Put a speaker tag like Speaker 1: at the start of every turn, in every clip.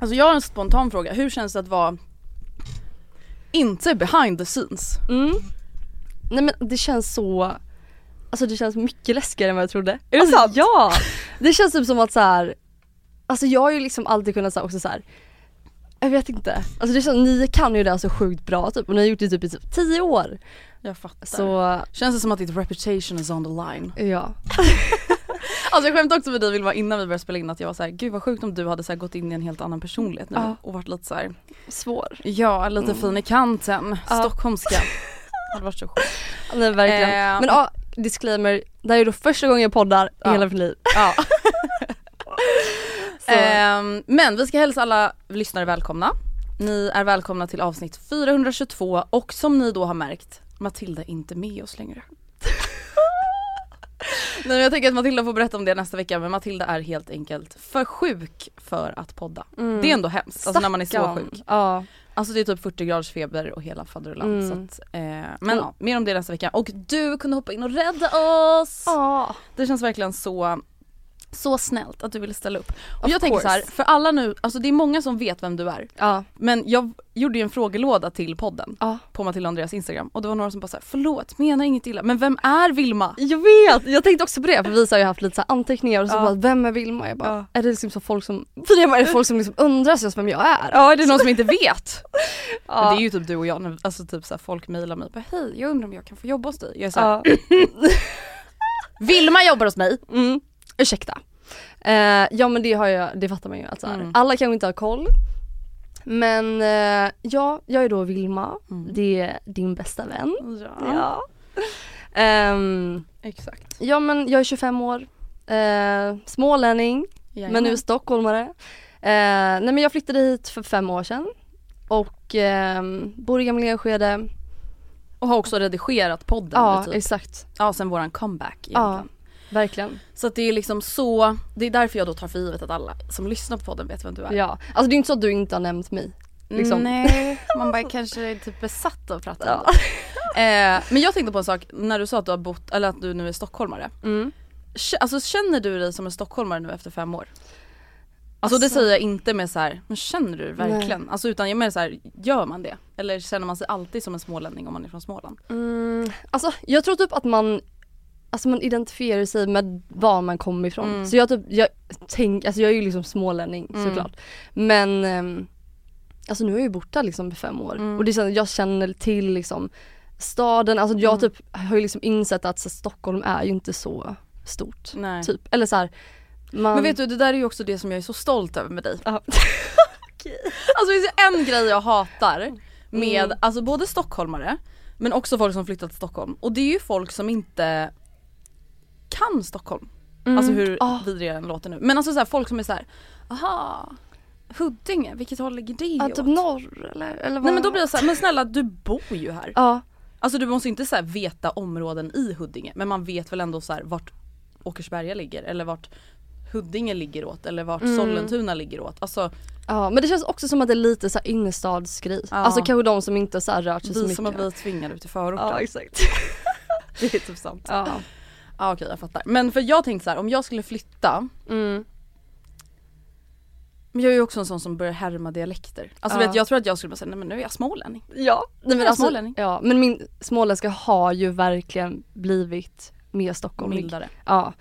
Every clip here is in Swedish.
Speaker 1: Alltså jag har en spontan fråga, hur känns det att vara inte behind the scenes?
Speaker 2: Mm. Nej men det känns så, alltså det känns mycket läskigare än vad jag trodde. Är
Speaker 1: det
Speaker 2: alltså,
Speaker 1: sant?
Speaker 2: Ja! Det känns typ som att så här. alltså jag har ju liksom alltid kunnat så här, också så här. jag vet inte. Alltså det känns, ni kan ju det här så sjukt bra typ och ni har gjort det typ i typ tio år.
Speaker 1: Jag fattar.
Speaker 2: Så
Speaker 1: Känns det som att ditt reputation is on the line?
Speaker 2: ja.
Speaker 1: Alltså jag skämtade också med dig Vilma innan vi började spela in att jag var såhär, gud vad sjukt om du hade så här gått in i en helt annan personlighet nu
Speaker 2: Ja.
Speaker 1: och varit lite såhär,
Speaker 2: Svår.
Speaker 1: ja lite fin i kanten,
Speaker 2: Ja.
Speaker 1: stockholmska. Det hade varit så sjukt.
Speaker 2: Nej verkligen.
Speaker 1: Eh.
Speaker 2: Men ja, disclaimer, det här är då första gången jag poddar i
Speaker 1: Ja.
Speaker 2: hela mitt liv.
Speaker 1: Ja.
Speaker 2: Så.
Speaker 1: Ehm, men vi ska hälsa alla lyssnare välkomna. Ni är välkomna till avsnitt 422 och som ni då har märkt, Matilda är inte med oss längre. Nej men jag tänker att Matilda får berätta om det nästa vecka men Matilda är helt enkelt för sjuk för att podda. Det är ändå hemskt, alltså när man är så
Speaker 2: Mm. Stackarn.
Speaker 1: sjuk.
Speaker 2: Ja.
Speaker 1: Alltså det är typ 40 graders feber och hela faderullan.
Speaker 2: Mm.
Speaker 1: Så att, eh, men
Speaker 2: Ja.
Speaker 1: mer om det nästa vecka. Och du kunde hoppa in och rädda oss!
Speaker 2: Ja.
Speaker 1: Det känns verkligen så så snällt att du ville ställa upp. Och
Speaker 2: Of
Speaker 1: jag tänker så här,
Speaker 2: course.
Speaker 1: för alla nu, alltså det är många som vet vem du är.
Speaker 2: Ja.
Speaker 1: Men jag gjorde ju en frågelåda till podden
Speaker 2: ja.
Speaker 1: på Matilda och Andreas instagram och det var några som bara såhär, förlåt menar inget illa, men vem är Vilma?
Speaker 2: Jag vet, jag tänkte också på det för vi har ju haft lite så här anteckningar och så
Speaker 1: Ja.
Speaker 2: bara vem är Vilma? Jag bara, är det liksom så folk som, för det är bara folk som liksom undrar just vem jag är?
Speaker 1: Ja det är någon som inte vet.
Speaker 2: Ja.
Speaker 1: Det är ju typ du och jag, när- alltså typ såhär folk mejlar mig bara hej jag undrar om jag kan få jobba hos dig. Jag är såhär,
Speaker 2: Ja.
Speaker 1: Vilma jobbar hos mig.
Speaker 2: Mm. Ursäkta. Eh, ja men det har jag, det fattar man ju att så här,
Speaker 1: Mm.
Speaker 2: alla kanske inte har koll. Men eh, ja, jag är då Vilma,
Speaker 1: Mm.
Speaker 2: det är din bästa vän.
Speaker 1: Ja,
Speaker 2: Ehm,
Speaker 1: exakt.
Speaker 2: ja men jag är 25 år, eh, smålänning. Men nu är stockholmare. Eh, nej men jag flyttade hit för fem år sedan och ehm, bor i Gamla Enskede.
Speaker 1: och har också redigerat podden
Speaker 2: Ja
Speaker 1: nu typ.
Speaker 2: exakt.
Speaker 1: ja sen våran comeback
Speaker 2: Ja,
Speaker 1: egentligen.
Speaker 2: verkligen.
Speaker 1: Så att det är liksom så, det är därför jag då tar för givet att alla som lyssnar på podden vet vem du är.
Speaker 2: Ja. Alltså det är inte så att du inte har nämnt mig. liksom.
Speaker 1: Nej, man bara kanske är typ besatt av att prata om
Speaker 2: Ja.
Speaker 1: det. eh, Men jag tänkte på en sak, när du sa att du har bott, eller att du nu är stockholmare.
Speaker 2: Mm.
Speaker 1: K- Alltså känner du dig som en stockholmare nu efter fem år? Alltså, det
Speaker 2: Alltså-
Speaker 1: säger jag inte med så här, men känner du verkligen? Alltså utan jag menar så här, gör man det? Eller känner man sig alltid som en smålänning om man är från Småland?
Speaker 2: Mm. Alltså jag tror typ att man Alltså man identifierar sig med var man kommer ifrån.
Speaker 1: Mm.
Speaker 2: Så jag typ, jag tänk, alltså jag är ju liksom smålänning
Speaker 1: Mm.
Speaker 2: såklart. Men ehm, Alltså nu har jag ju bott där liksom i fem år
Speaker 1: Mm.
Speaker 2: och det känns, jag känner till liksom staden, alltså jag
Speaker 1: Mm.
Speaker 2: typ har ju liksom insett att så, Stockholm är ju inte så stort.
Speaker 1: Mm, Nej.
Speaker 2: Typ, eller så här, man...
Speaker 1: Men vet du det där är ju också det som jag är så stolt över med dig.
Speaker 2: Ja.
Speaker 1: Alltså det är en grej jag hatar med
Speaker 2: Mm.
Speaker 1: alltså både stockholmare men också folk som flyttat till Stockholm och det är ju folk som inte kan Stockholm. Alltså hur
Speaker 2: Ah.
Speaker 1: vidrig den låter nu. Men alltså så här, folk som är så här, aha Huddinge, vilket håll ligger det
Speaker 2: Ja,
Speaker 1: åt?
Speaker 2: typ norr eller, eller vad? Ah.
Speaker 1: Nej men då blir jag såhär, men snälla du bor ju här.
Speaker 2: Ja,
Speaker 1: Alltså du måste inte så här veta områden i Huddinge men man vet väl ändå så här vart Åkersberga ligger eller vart Huddinge ligger åt eller vart Sollentuna ligger åt. Alltså
Speaker 2: Ja men det Mm. känns också som att det är lite så här innerstadsgrej. Alltså kanske de som inte så här rört sig så
Speaker 1: vi
Speaker 2: mycket.
Speaker 1: som har blivit tvingade ut i förorten.
Speaker 2: Ja exakt.
Speaker 1: Det är typ sant. Ja
Speaker 2: ja.
Speaker 1: okej jag fattar. Men för jag tänkte så här om jag skulle flytta
Speaker 2: Mm.
Speaker 1: men jag är ju också en sån som börjar härma dialekter. Alltså
Speaker 2: Ja.
Speaker 1: vet, jag tror att jag skulle bara säga nej men nu är jag smålänning.
Speaker 2: ja. Nej, men,
Speaker 1: Jag är
Speaker 2: alltså,
Speaker 1: smålänning.
Speaker 2: ja men min småländska har ju verkligen blivit mer stockholmig.
Speaker 1: Mildare.
Speaker 2: Ja.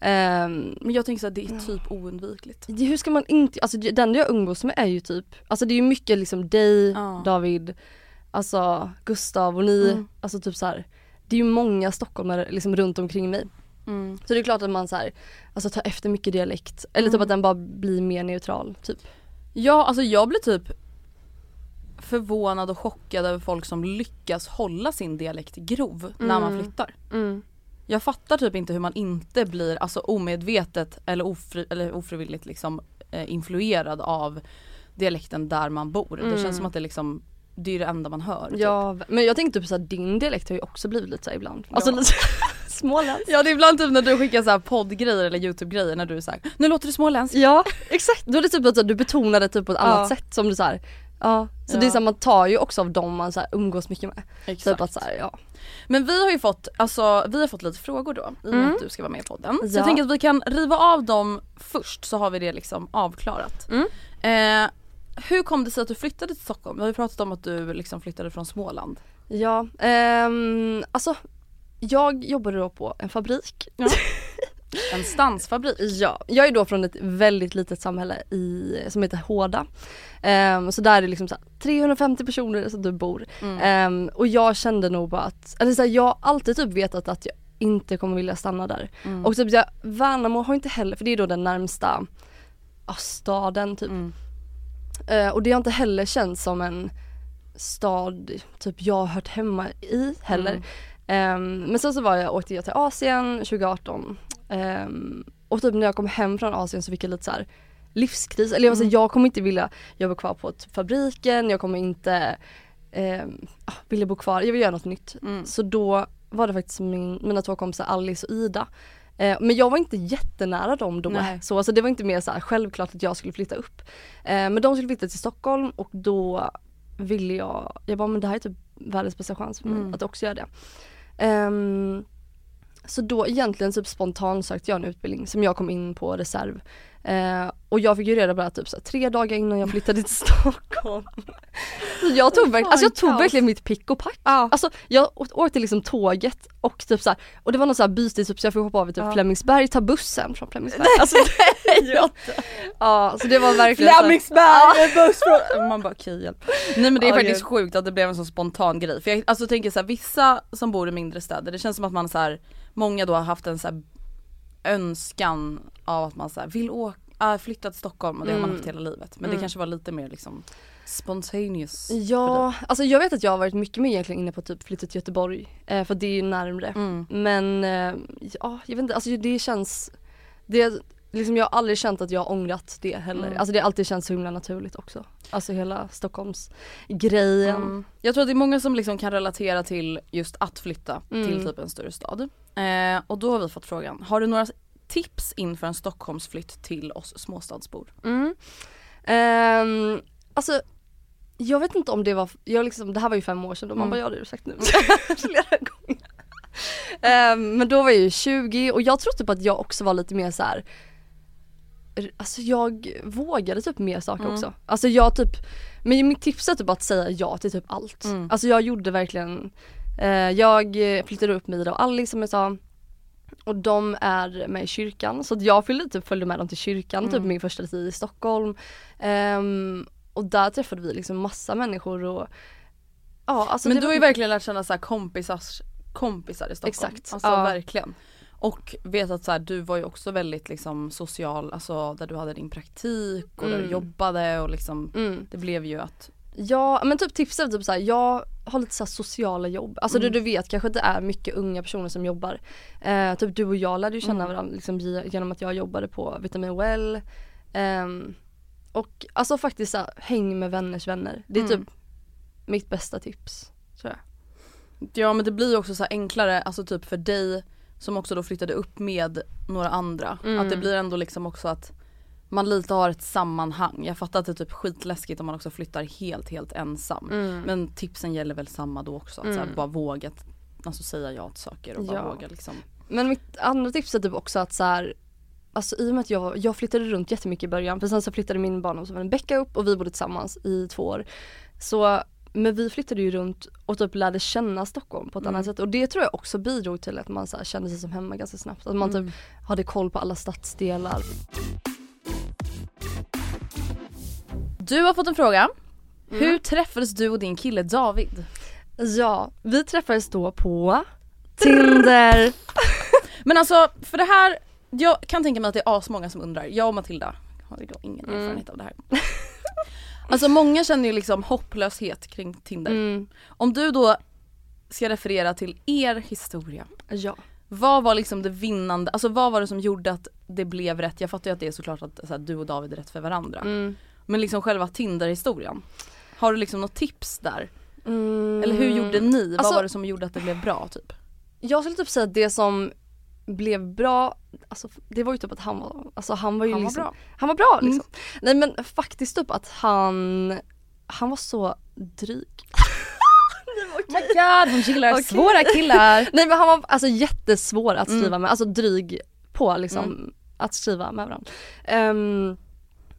Speaker 2: Ehm,
Speaker 1: Men jag tänker så här, det är typ oundvikligt.
Speaker 2: Det- Hur ska man inte, alltså det det enda jag umgås med är ju typ, alltså det är ju mycket liksom dig,
Speaker 1: Ja.
Speaker 2: David, alltså Gustav och ni,
Speaker 1: Mm.
Speaker 2: alltså typ så här. Det är ju många stockholmare liksom runt omkring mig.
Speaker 1: Mm.
Speaker 2: Så det är klart att man så här, alltså tar efter mycket dialekt. Eller typ att den bara blir mer neutral typ.
Speaker 1: Ja alltså jag blir typ förvånad och chockad över folk som lyckas hålla sin dialekt grov när man flyttar. Jag fattar typ inte hur man inte blir alltså omedvetet eller, ofri, eller ofrivilligt liksom eh, influerad av dialekten där man bor. Det känns som att det liksom det är det enda man hör. typ.
Speaker 2: Ja, v- men jag tänkte typ såhär din dialekt har ju också blivit lite såhär ibland. Alltså
Speaker 1: Ja.
Speaker 2: lite småländsk.
Speaker 1: ja det är ibland typ när du skickar så här poddgrejer eller youtube-grejer när du är såhär nu låter det småländskt.
Speaker 2: Ja exakt, då är det typ att så här, du betonar det typ på ett annat
Speaker 1: Ja.
Speaker 2: sätt som du såhär, ja. Så
Speaker 1: Ja.
Speaker 2: det är såhär man tar ju också av dem man så här, umgås mycket med. Typ att såhär, ja.
Speaker 1: Men vi har ju fått, alltså, vi har fått lite frågor då i och med att du ska vara med i podden. Så
Speaker 2: Mm. Ja.
Speaker 1: jag tänker att vi kan riva av dem först så har vi det liksom avklarat.
Speaker 2: Mm.
Speaker 1: Eh, hur kom det sig att du flyttade till Stockholm? Vi har ju pratat om att du liksom flyttade från Småland.
Speaker 2: Ja, ehm, alltså jag jobbade då på en fabrik.
Speaker 1: En stansfabrik.
Speaker 2: Ja, jag är då från ett väldigt litet samhälle i, som heter Håda. Ehm, så där är det liksom så här 350 personer som du bor. Ehm, och jag kände nog bara att, eller så här, jag har alltid typ vetat att jag inte kommer vilja stanna där. Och typ så här, Värnamo har inte heller, för det är då den närmsta ja, staden typ. Eh, och det har inte heller känts som en stad typ jag har hört hemma i heller. Ehm, men sen så var jag, åkte jag till Asien 2018 Ehm, och typ när jag kom hem från Asien så fick jag lite så här livskris. Eller jag, var så här, jag kommer inte vilja jobba kvar på typ fabriken, jag kommer inte ehm, ah, vilja bo kvar, jag vill göra något nytt. Så då var det faktiskt min, mina två kompisar Alice och Ida. Eh, men jag var inte jättenära dem då.
Speaker 1: Nej.
Speaker 2: Så alltså, det var inte mer så här självklart att jag skulle flytta upp. Eh, men de skulle flytta till Stockholm och då ville jag, jag bara men det här är typ världens bästa chans för mig att också göra det. Ehm, så då egentligen typ spontant sökte jag en utbildning som jag kom in på reserv. Eh, och jag fick ju reda på det här typ så här, tre dagar innan jag flyttade till Stockholm. Så jag tog, verkligen, alltså jag tog
Speaker 1: kaos.
Speaker 2: verkligen mitt pick och pack. Alltså jag å- åkte liksom tåget och typ så här, och det var någon så här byte typ, så jag fick hoppa av i typ Flemingsberg, ta bussen från Flemingsberg. Alltså, ja. ja så det var verkligen så här-
Speaker 1: Flemingsberg! buss från- alltså. Man bara okej hjälp. Nej men det är
Speaker 2: Åh,
Speaker 1: faktiskt
Speaker 2: gud.
Speaker 1: sjukt att det blev en så spontan grej. För jag alltså, tänker så här, vissa som bor i mindre städer, det känns som att man så här, många då har haft en så här, önskan av att man så här, vill åka, äh, flytta till Stockholm och det
Speaker 2: Mm.
Speaker 1: har man haft hela livet. Men det kanske var lite mer liksom spontaneous.
Speaker 2: Ja, alltså jag vet att jag har varit mycket mer egentligen inne på typ flytta till Göteborg eh, för det är ju närmre.
Speaker 1: Mm.
Speaker 2: Men eh, ja, jag vet inte, alltså det känns, det, liksom jag har aldrig känt att jag har ångrat det heller. Alltså det har alltid känts så himla naturligt också. Alltså hela Stockholms grejen.
Speaker 1: Mm. Jag tror att det är många som liksom kan relatera till just att flytta
Speaker 2: Mm.
Speaker 1: till typ en större stad. Eh, och då har vi fått frågan, har du några tips inför en Stockholmsflytt till oss småstadsbor?
Speaker 2: Ehm, alltså jag vet inte om det var, jag liksom, det här var ju fem år sedan då, man bara ja det har du sagt nu flera gånger. Ehm, men då var jag ju 20 och jag tror typ att jag också var lite mer så här. r- Alltså jag vågade typ mer saker också. Alltså jag typ, men mitt tips är typ att säga ja till typ allt. Alltså jag gjorde verkligen, eh, jag flyttade upp med Ida och Alice som jag sa. Och de är med i kyrkan så att jag följde, typ, följde med dem till kyrkan typ min första tid i Stockholm. Ehm, och där träffade vi liksom massa människor och ja alltså
Speaker 1: Men
Speaker 2: det
Speaker 1: du
Speaker 2: var-
Speaker 1: har ju verkligen lärt känna så här kompisars kompisar i Stockholm.
Speaker 2: Exakt,
Speaker 1: Alltså
Speaker 2: ja.
Speaker 1: verkligen. Och vet att så här, du var ju också väldigt liksom social, alltså där du hade din praktik och
Speaker 2: Mm.
Speaker 1: där du jobbade och liksom det blev ju att
Speaker 2: Ja men typ tips är typ såhär, jag har lite såhär sociala jobb. Alltså du, du vet kanske att det är mycket unga personer som jobbar. Eh, typ du och jag lärde ju känna varandra liksom, via- genom att jag jobbade på Vitamin Well. Ehm, och alltså Mm. faktiskt såhär, häng med vänners vänner. Det är typ mitt bästa tips. Tror jag.
Speaker 1: Ja men det blir ju också så här enklare, alltså typ för dig som också då flyttade upp med några andra. Att
Speaker 2: Mm.
Speaker 1: det blir ändå liksom också att man lite har ett sammanhang. Jag fattar att det är typ skitläskigt om man också flyttar helt helt ensam.
Speaker 2: Mm.
Speaker 1: Men tipsen gäller väl samma då också. Att så här, bara våga alltså, säga ja till saker och bara
Speaker 2: Ja.
Speaker 1: våga liksom.
Speaker 2: Men mitt andra tips är typ också att så här, alltså i och med att jag, jag flyttade runt jättemycket i början för sen så flyttade min barndomsvän Becka upp och vi bodde tillsammans i två år. Så, men vi flyttade ju runt och typ lärde känna Stockholm på ett annat sätt och det tror jag också bidrog till att man så här kände sig som hemma ganska snabbt. Att man typ hade koll på alla stadsdelar.
Speaker 1: Du har fått en fråga. Hur träffades du och din kille David?
Speaker 2: Ja, vi träffades då på Tinder.
Speaker 1: Men alltså för det här, jag kan tänka mig att det är asmånga som undrar. Jag och Matilda har ju då ingen erfarenhet av det här. Alltså många känner ju liksom hopplöshet kring Tinder. Om du då ska referera till er historia.
Speaker 2: Ja.
Speaker 1: Vad var liksom det vinnande, alltså vad var det som gjorde att det blev rätt? Jag fattar ju att det är såklart att så här, du och David är rätt för varandra. Men liksom själva Tinder-historien. Har du liksom något tips där? Eller hur gjorde ni?
Speaker 2: Alltså-
Speaker 1: vad var det som gjorde att det blev bra typ?
Speaker 2: Jag skulle typ säga att det som blev bra, alltså det var ju typ att han var, alltså han var ju
Speaker 1: Han var
Speaker 2: liksom,
Speaker 1: bra.
Speaker 2: han var bra liksom. Nej men faktiskt typ att han, han var så dryg.
Speaker 1: Oh my god, hon gillar
Speaker 2: Okej.
Speaker 1: svåra killar.
Speaker 2: Nej men han var alltså jättesvår att skriva med, alltså dryg på liksom att skriva med varandra. Ehm,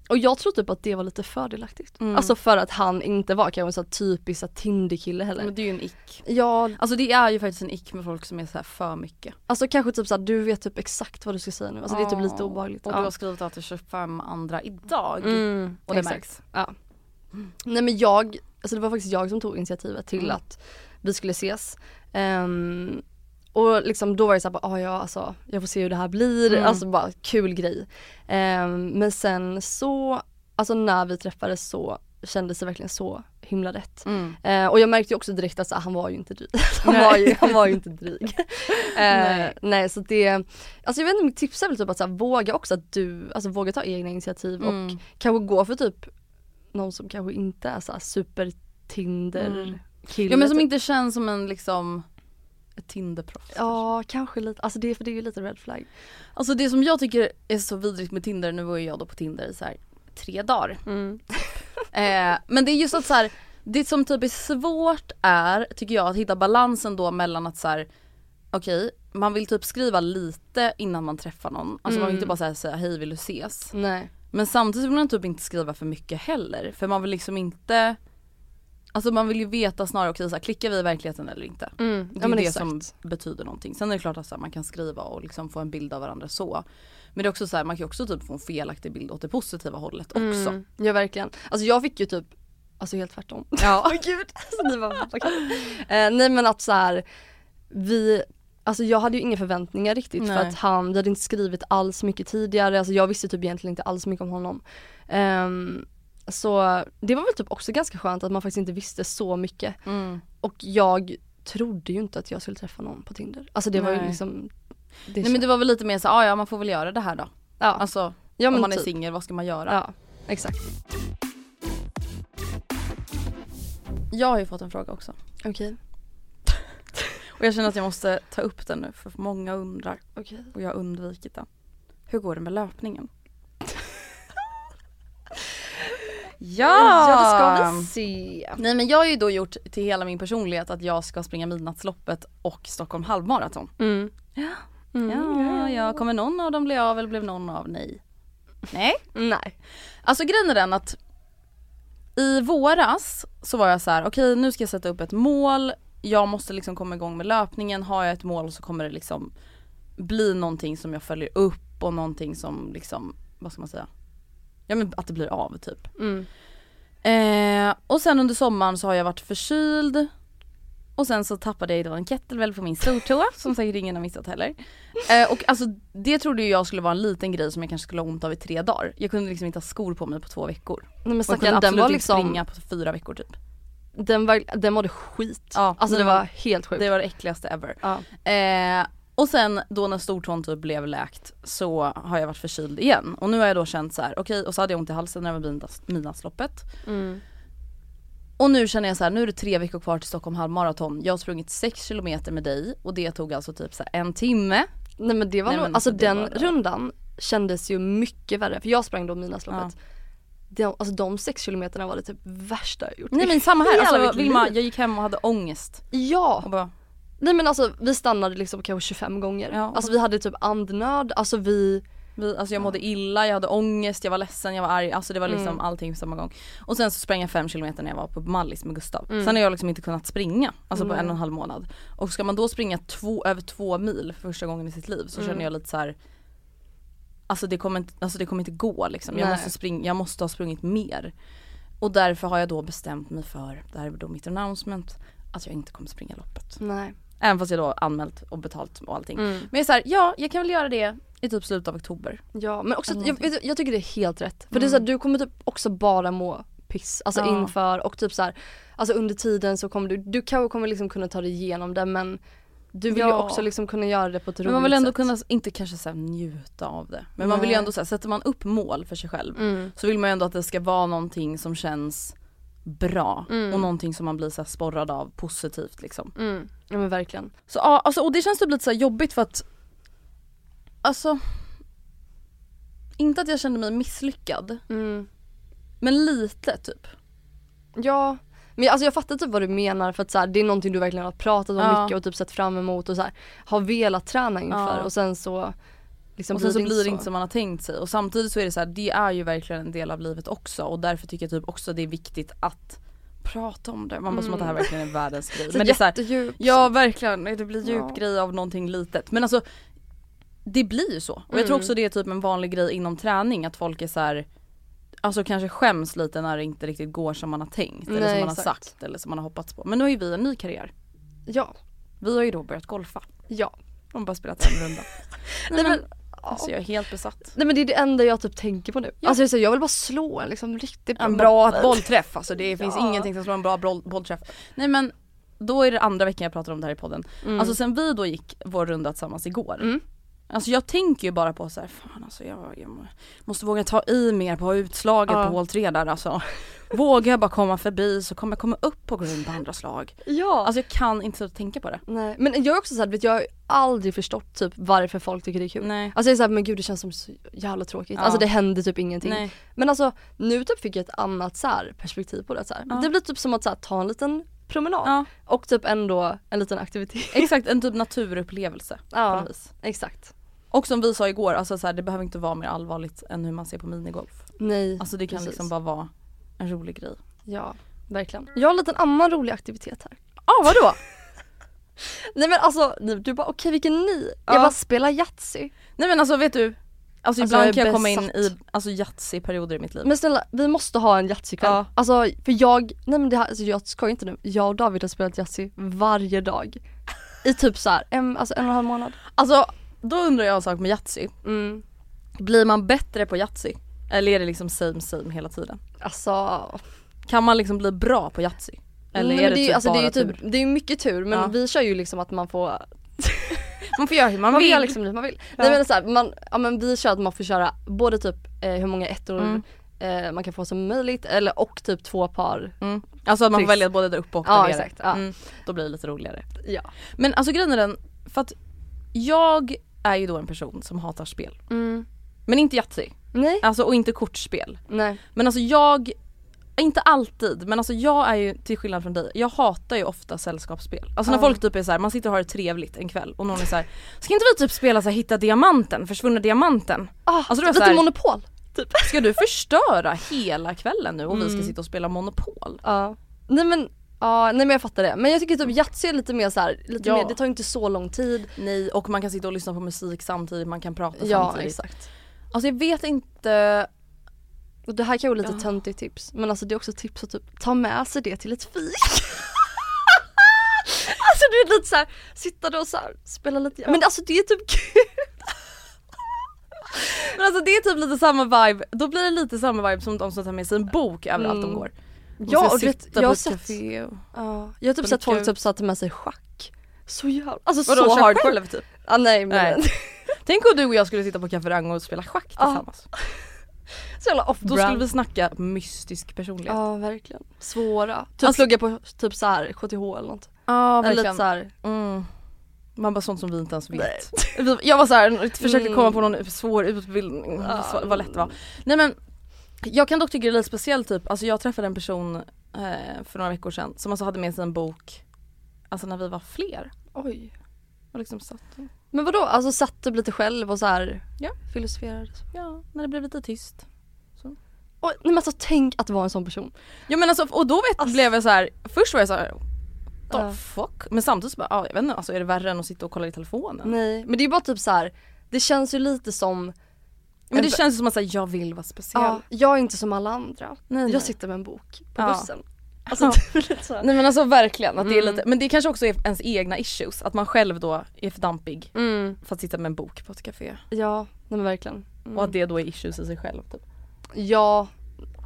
Speaker 2: och jag tror typ att det var lite fördelaktigt. Alltså för att han inte var kanske en sån här typisk så här Tinder-kille heller.
Speaker 1: Men det är ju en ick.
Speaker 2: Ja,
Speaker 1: Alltså det är ju faktiskt en ick med folk som är så här för mycket.
Speaker 2: alltså kanske typ såhär du vet typ exakt vad du ska säga nu, alltså det är typ lite obehagligt.
Speaker 1: Och
Speaker 2: Ja.
Speaker 1: du har skrivit att det är 25 andra idag. och det
Speaker 2: exakt.
Speaker 1: märks.
Speaker 2: Ja. Nej men jag, alltså det var faktiskt jag som tog initiativet till att vi skulle ses. Ehm, och liksom då var det såhär, ah, ja alltså jag får se hur det här blir, alltså bara kul grej. Ehm, men sen så, alltså när vi träffades så kändes det verkligen så himla rätt.
Speaker 1: Mm.
Speaker 2: Ehm, och jag märkte ju också direkt att så här, han var ju inte dryg. Han,
Speaker 1: Nej.
Speaker 2: var ju, han var ju inte dryg. nej.
Speaker 1: Nej.
Speaker 2: nej så det, alltså jag vet inte mitt tips är väl typ att så här, våga också att du, alltså våga ta egna initiativ
Speaker 1: Mm.
Speaker 2: och kanske gå för typ någon som kanske inte är så här super Tinder kille.
Speaker 1: Mm.
Speaker 2: typ.
Speaker 1: Ja men som inte känns som en liksom ett Tinder-proffs.
Speaker 2: Ja kanske lite, alltså det, för det är ju lite red flag.
Speaker 1: Alltså det som jag tycker är så vidrigt med Tinder, nu var ju jag då på Tinder i så här tre dagar. eh, men det är just att så här, det som typ är svårt är, tycker jag, att hitta balansen då mellan att så här, okej, man vill typ skriva lite innan man träffar någon. Alltså man vill inte bara så här säga hej vill du ses?
Speaker 2: Nej.
Speaker 1: Men samtidigt vill man typ inte skriva för mycket heller. För man vill liksom inte Alltså man vill ju veta snarare också så här, klickar vi i verkligheten eller inte? Det är
Speaker 2: Mm. men
Speaker 1: det
Speaker 2: exakt.
Speaker 1: som betyder någonting. Sen är det klart att så här, man kan skriva och liksom få en bild av varandra så. Men det är också så här, man kan ju också typ få en felaktig bild åt det positiva hållet också.
Speaker 2: Mm, ja verkligen. Alltså jag fick ju typ, alltså helt tvärtom. Ja. Åh gud. Alltså, ni var, okay. eh, nej men att så här, vi, alltså jag hade ju inga förväntningar riktigt för
Speaker 1: Nej.
Speaker 2: att han, vi hade inte skrivit alls mycket tidigare, alltså jag visste typ egentligen inte alls mycket om honom. Ehm, så det var väl typ också ganska skönt att man faktiskt inte visste så mycket.
Speaker 1: Mm.
Speaker 2: Och jag trodde ju inte att jag skulle träffa någon på Tinder. Alltså det var ju
Speaker 1: Nej.
Speaker 2: liksom det
Speaker 1: Nej men
Speaker 2: kän-
Speaker 1: det var väl lite mer så här, ah, ja man får väl göra det här då.
Speaker 2: ja.
Speaker 1: Alltså
Speaker 2: ja,
Speaker 1: om
Speaker 2: men
Speaker 1: man är
Speaker 2: typ.
Speaker 1: singel vad ska man göra?
Speaker 2: Ja, exakt.
Speaker 1: Jag har ju fått en fråga också.
Speaker 2: Okej.
Speaker 1: Och jag känner att jag måste ta upp den nu för många undrar.
Speaker 2: Okej.
Speaker 1: Och jag har undvikit den. Hur går det med löpningen? ja!
Speaker 2: Ja,
Speaker 1: Ah.
Speaker 2: det ska vi se.
Speaker 1: Nej men jag har ju då gjort till hela min personlighet att jag ska springa Midnattsloppet och Stockholm halvmaraton.
Speaker 2: Mm.
Speaker 1: Ja, ja, kommer någon av dem bli av eller blev någon av? Nej. Nej.
Speaker 2: Nej.
Speaker 1: Alltså grejen är den att i våras så var jag så här: okej nu ska jag sätta upp ett mål, jag måste liksom komma igång med löpningen, har jag ett mål så kommer det liksom bli någonting som jag följer upp och någonting som liksom, vad ska man säga? Ja men att det blir av typ. Eh, och sen under sommaren så har jag varit förkyld och sen så tappade jag ju då en kettlebell på min stortå som säkert ingen har missat heller. Eh, och alltså det trodde ju jag skulle vara en liten grej som jag kanske skulle ha ont av i tre dagar. Jag kunde liksom inte ha skor på mig på två veckor.
Speaker 2: Nej
Speaker 1: Och
Speaker 2: men
Speaker 1: jag kunde
Speaker 2: stackarn, den
Speaker 1: absolut
Speaker 2: var
Speaker 1: inte
Speaker 2: liksom,
Speaker 1: springa på fyra veckor typ.
Speaker 2: den, var, den mådde skit.
Speaker 1: Ja,
Speaker 2: alltså det
Speaker 1: men-
Speaker 2: var helt sjukt.
Speaker 1: Det var det äckligaste ever.
Speaker 2: ja.
Speaker 1: Eh, och sen då när stortån typ blev läkt så har jag varit förkyld igen.
Speaker 2: Mm.
Speaker 1: Och nu har jag då känt så här: okej och så hade jag ont i halsen när det var midnatts- midnattsloppet. Och nu känner jag så här, nu är det tre veckor kvar till Stockholm halvmaraton. Jag har sprungit sex kilometer med dig och det tog alltså typ så här en timme.
Speaker 2: Nej men det var
Speaker 1: Nej,
Speaker 2: nog,
Speaker 1: men
Speaker 2: alltså
Speaker 1: det
Speaker 2: den
Speaker 1: var det.
Speaker 2: rundan kändes ju mycket värre för jag sprang då Midnattsloppet. De, alltså de sex kilometerna var det typ värsta jag gjort.
Speaker 1: Nej men samma här,
Speaker 2: Hela
Speaker 1: alltså
Speaker 2: mitt liv.
Speaker 1: Vilma, jag gick hem och hade ångest.
Speaker 2: Ja!
Speaker 1: Och bara,
Speaker 2: Nej men alltså vi stannade liksom kanske 25 gånger.
Speaker 1: Ja.
Speaker 2: Alltså vi hade typ andnöd, alltså vi,
Speaker 1: vi, alltså jag mådde illa, jag hade ångest, jag var ledsen, jag var arg. Alltså det var liksom allting på samma gång. Och sen så sprang jag fem kilometer när jag var på Mallis med Gustav. Sen har jag liksom inte kunnat springa, alltså på en och en halv månad. Och ska man då springa två, över två mil för första gången i sitt liv så känner jag lite så här. Alltså det kommer inte, alltså det kommer inte gå liksom. Jag
Speaker 2: Nej.
Speaker 1: måste, springa, jag måste ha sprungit mer. Och därför har jag då bestämt mig för, det här är då mitt announcement, att jag inte kommer springa loppet.
Speaker 2: nej.
Speaker 1: Även fast jag då anmält och betalt och allting. Men jag är såhär, ja jag kan väl göra det i typ slutet av oktober.
Speaker 2: Ja men också, att- jag, vet du, jag tycker det är helt rätt. För det är så här, du kommer typ också bara må piss, alltså
Speaker 1: Mm. Ja.
Speaker 2: inför och typ så här, alltså under tiden så kommer du, du kanske kommer liksom kunna ta dig igenom det men du vill ju
Speaker 1: Ja.
Speaker 2: också liksom kunna göra det på ett roligt
Speaker 1: Men man vill ändå
Speaker 2: sätt.
Speaker 1: kunna, inte kanske så här njuta av det. Men man vill ju
Speaker 2: Nej. Mm.
Speaker 1: ändå säga sätter man upp mål för sig själv så vill man ju ändå att det ska vara någonting som känns bra och någonting som man blir så här sporrad av positivt liksom.
Speaker 2: Mm. Ja men verkligen.
Speaker 1: Så ja, alltså, och det känns typ lite så här jobbigt för att Alltså Inte att jag kände mig misslyckad
Speaker 2: Mm.
Speaker 1: men lite typ.
Speaker 2: Ja, men alltså jag fattar typ vad du menar för att så här, det är någonting du verkligen har pratat om
Speaker 1: Ja.
Speaker 2: mycket och typ sett fram emot och så här, har velat träna inför
Speaker 1: Ja.
Speaker 2: och sen så liksom
Speaker 1: Och sen så blir det inte som man har tänkt sig och samtidigt så är det så här, det är ju verkligen en del av livet också och därför tycker jag typ också det är viktigt att prata om det. Man bara som att det här verkligen är världens grej.
Speaker 2: men
Speaker 1: Men det är Mm. så här,
Speaker 2: jättedjup.
Speaker 1: Ja verkligen, det blir djup
Speaker 2: Ja.
Speaker 1: grej av någonting litet. Men alltså det blir ju så. Och jag tror också det är typ en vanlig grej inom träning att folk är så här Alltså kanske skäms lite när det inte riktigt går som man har tänkt eller som
Speaker 2: Nej,
Speaker 1: man har
Speaker 2: exakt.
Speaker 1: sagt eller som man har hoppats på. Men nu har ju vi en ny karriär.
Speaker 2: Ja.
Speaker 1: Vi har ju då börjat golfa.
Speaker 2: Ja.
Speaker 1: De har bara spelat en runda.
Speaker 2: Nej men,
Speaker 1: Alltså jag är helt besatt.
Speaker 2: nej men det är det enda jag typ tänker på nu. Alltså jag, säger, jag vill bara slå en liksom riktigt
Speaker 1: En bra
Speaker 2: boll.
Speaker 1: bollträff, alltså det finns
Speaker 2: Ja.
Speaker 1: ingenting som slår en bra boll, bollträff. Nej men då är det andra veckan jag pratar om det här i podden.
Speaker 2: Mm.
Speaker 1: Alltså sen vi då gick vår runda tillsammans igår. Alltså jag tänker ju bara på så här, fan alltså jag, jag må- måste våga ta i mer på utslaget
Speaker 2: Ja.
Speaker 1: på hål 3 där alltså. Vågar jag bara komma förbi så kommer jag komma upp på grund på andra slag.
Speaker 2: Ja.
Speaker 1: Alltså jag kan inte sluta tänka på det.
Speaker 2: nej. Men jag är också såhär, jag har ju aldrig förstått typ varför folk tycker det är kul.
Speaker 1: Nej.
Speaker 2: Alltså jag är såhär, men gud det känns som så jävla tråkigt.
Speaker 1: Ja.
Speaker 2: Alltså det händer typ ingenting.
Speaker 1: Nej.
Speaker 2: Men alltså nu typ fick jag ett annat så här perspektiv på det. Så här. Det blir typ som att så här, ta en liten promenad
Speaker 1: Ja.
Speaker 2: och typ ändå en liten aktivitet.
Speaker 1: Exakt en typ naturupplevelse på
Speaker 2: Ja.
Speaker 1: något vis.
Speaker 2: Exakt.
Speaker 1: Och som vi sa igår, alltså så här, det behöver inte vara mer allvarligt än hur man ser på minigolf.
Speaker 2: Nej.
Speaker 1: Alltså det kan
Speaker 2: precis.
Speaker 1: liksom bara vara en rolig grej.
Speaker 2: Ja, verkligen. Jag har en liten annan rolig aktivitet här.
Speaker 1: Ja ah, vadå?
Speaker 2: Nej men alltså ni- du bara okej vilken ni?
Speaker 1: Ja.
Speaker 2: Jag bara spelar Yatzy.
Speaker 1: Nej men alltså vet du, alltså,
Speaker 2: Alltså, jag
Speaker 1: ibland
Speaker 2: är
Speaker 1: kan jag komma in
Speaker 2: besatt.
Speaker 1: i alltså Yatzy-perioder i mitt liv.
Speaker 2: Men snälla vi måste ha en Yatzy-kväll.
Speaker 1: Ja.
Speaker 2: Alltså för jag, nej men det här, alltså, jag skojar inte nu. Jag och David har spelat Yatzy varje dag. I typ så här, en, alltså en och en halv månad.
Speaker 1: Alltså då undrar jag en sak med Yatzy.
Speaker 2: Mm.
Speaker 1: Blir man bättre på Yatzy? Eller är det liksom same same hela tiden?
Speaker 2: Alltså
Speaker 1: Kan man liksom bli bra på Yatzy? Eller
Speaker 2: Nej,
Speaker 1: är
Speaker 2: men
Speaker 1: det,
Speaker 2: ju-
Speaker 1: typ
Speaker 2: alltså,
Speaker 1: bara
Speaker 2: det är ju
Speaker 1: tur?
Speaker 2: typ, det är ju mycket tur men
Speaker 1: Ja.
Speaker 2: vi kör ju liksom att man får,
Speaker 1: Man får göra hur man,
Speaker 2: man får
Speaker 1: vill.
Speaker 2: göra liksom det man vill. Nej men så här, man, ja men vi kör att man får köra både typ eh, hur många ettor
Speaker 1: Mm.
Speaker 2: eh, man kan få som möjligt eller och typ två par.
Speaker 1: Mm. Alltså att man får
Speaker 2: Tricks.
Speaker 1: välja både där uppe och
Speaker 2: Ja,
Speaker 1: där
Speaker 2: exakt, ja.
Speaker 1: Mm. Då blir det lite roligare.
Speaker 2: Ja.
Speaker 1: Men alltså grejen är den, för att jag är ju då en person som hatar spel. Men inte Yatzy.
Speaker 2: Nej.
Speaker 1: Alltså och inte kortspel.
Speaker 2: Nej.
Speaker 1: Men alltså jag, inte alltid, men alltså jag är ju till skillnad från dig, jag hatar ju ofta sällskapsspel. Alltså när folk typ är så här, man sitter och har det trevligt en kväll och någon är så här, ska inte vi typ spela så här, hitta diamanten, försvunna diamanten?
Speaker 2: Ah,
Speaker 1: Alltså, det var
Speaker 2: lite
Speaker 1: så här-
Speaker 2: monopol. Typ.
Speaker 1: Ska du förstöra hela kvällen nu och vi ska sitta och spela monopol?
Speaker 2: Ja. Nej men Ja, nej men jag fattar det. Men jag tycker typ Yatzy är lite mer så här, lite
Speaker 1: Ja.
Speaker 2: mer, det tar ju inte så lång tid.
Speaker 1: Nej och man kan sitta och lyssna på musik samtidigt, man kan prata
Speaker 2: Ja
Speaker 1: samtidigt.
Speaker 2: exakt.
Speaker 1: Alltså jag vet inte,
Speaker 2: Och det här kan ju vara lite töntigt tips men alltså det är också tips att typ ta med sig det till ett fik. alltså du är lite såhär, sitta där och så här, spela lite, men alltså det är typ kul.
Speaker 1: men alltså det är typ lite samma vibe, då blir det lite samma vibe som de som tar med sig en bok överallt de går. De
Speaker 2: Ja,
Speaker 1: ska
Speaker 2: och du vet,
Speaker 1: sitta
Speaker 2: jag
Speaker 1: på
Speaker 2: har
Speaker 1: ett
Speaker 2: sett-
Speaker 1: café och...
Speaker 2: Ja, jag har typ
Speaker 1: Men
Speaker 2: sett
Speaker 1: kul.
Speaker 2: folk typ så att ta med sig schack. Så jävla, alltså
Speaker 1: Vadå,
Speaker 2: så
Speaker 1: kör
Speaker 2: hardcore.
Speaker 1: själv typ?
Speaker 2: Ah, nej men
Speaker 1: Nej. Tänk om du och jag skulle sitta på Café Rang och spela schack tillsammans.
Speaker 2: Så jävla off
Speaker 1: Då skulle vi snacka mystisk personlighet.
Speaker 2: Ja verkligen. Svåra. Typ
Speaker 1: Alltså-
Speaker 2: plugga på typ så här KTH eller något.
Speaker 1: Ja,
Speaker 2: eller lite
Speaker 1: verkligen.
Speaker 2: så här.
Speaker 1: Mm. Man bara sånt som vi inte ens vet. Vi- Jag var såhär, försökte
Speaker 2: Mm.
Speaker 1: komma på någon svår utbildning,
Speaker 2: Ja.
Speaker 1: så- vad lätt det var. Nej men jag kan dock tycka det är lite speciellt typ, alltså jag träffade en person eh, för några veckor sedan som alltså hade med sig en bok, alltså när vi var fler.
Speaker 2: Oj.
Speaker 1: Och liksom satt och,
Speaker 2: Men vadå, alltså satt du lite själv och så här
Speaker 1: Ja.
Speaker 2: filosoferade?
Speaker 1: ja, när det blev lite tyst.
Speaker 2: Oj, nej men alltså tänk att vara en sån person.
Speaker 1: Ja men alltså och då vet, blev jag så här. först var jag såhär, the
Speaker 2: Ja.
Speaker 1: fuck? Men samtidigt så bara, ja jag vet inte, alltså är det värre än att sitta och kolla i telefonen?
Speaker 2: Nej men det är ju bara typ så här. det känns ju lite som,
Speaker 1: Men det känns ju som att säga, jag vill vara speciell.
Speaker 2: ja, jag är inte som alla andra.
Speaker 1: Nej, nej.
Speaker 2: Jag sitter med en bok på
Speaker 1: Ja.
Speaker 2: bussen. Alltså
Speaker 1: Ja.
Speaker 2: typ lite så. här.
Speaker 1: Nej men alltså verkligen, att det är
Speaker 2: Mm.
Speaker 1: lite, men det kanske också är ens egna issues, att man själv då är för dampig
Speaker 2: Mm.
Speaker 1: för att sitta med en bok på ett café
Speaker 2: Ja, nej men verkligen. Mm.
Speaker 1: och att det då är issues i sig själv typ.
Speaker 2: Ja,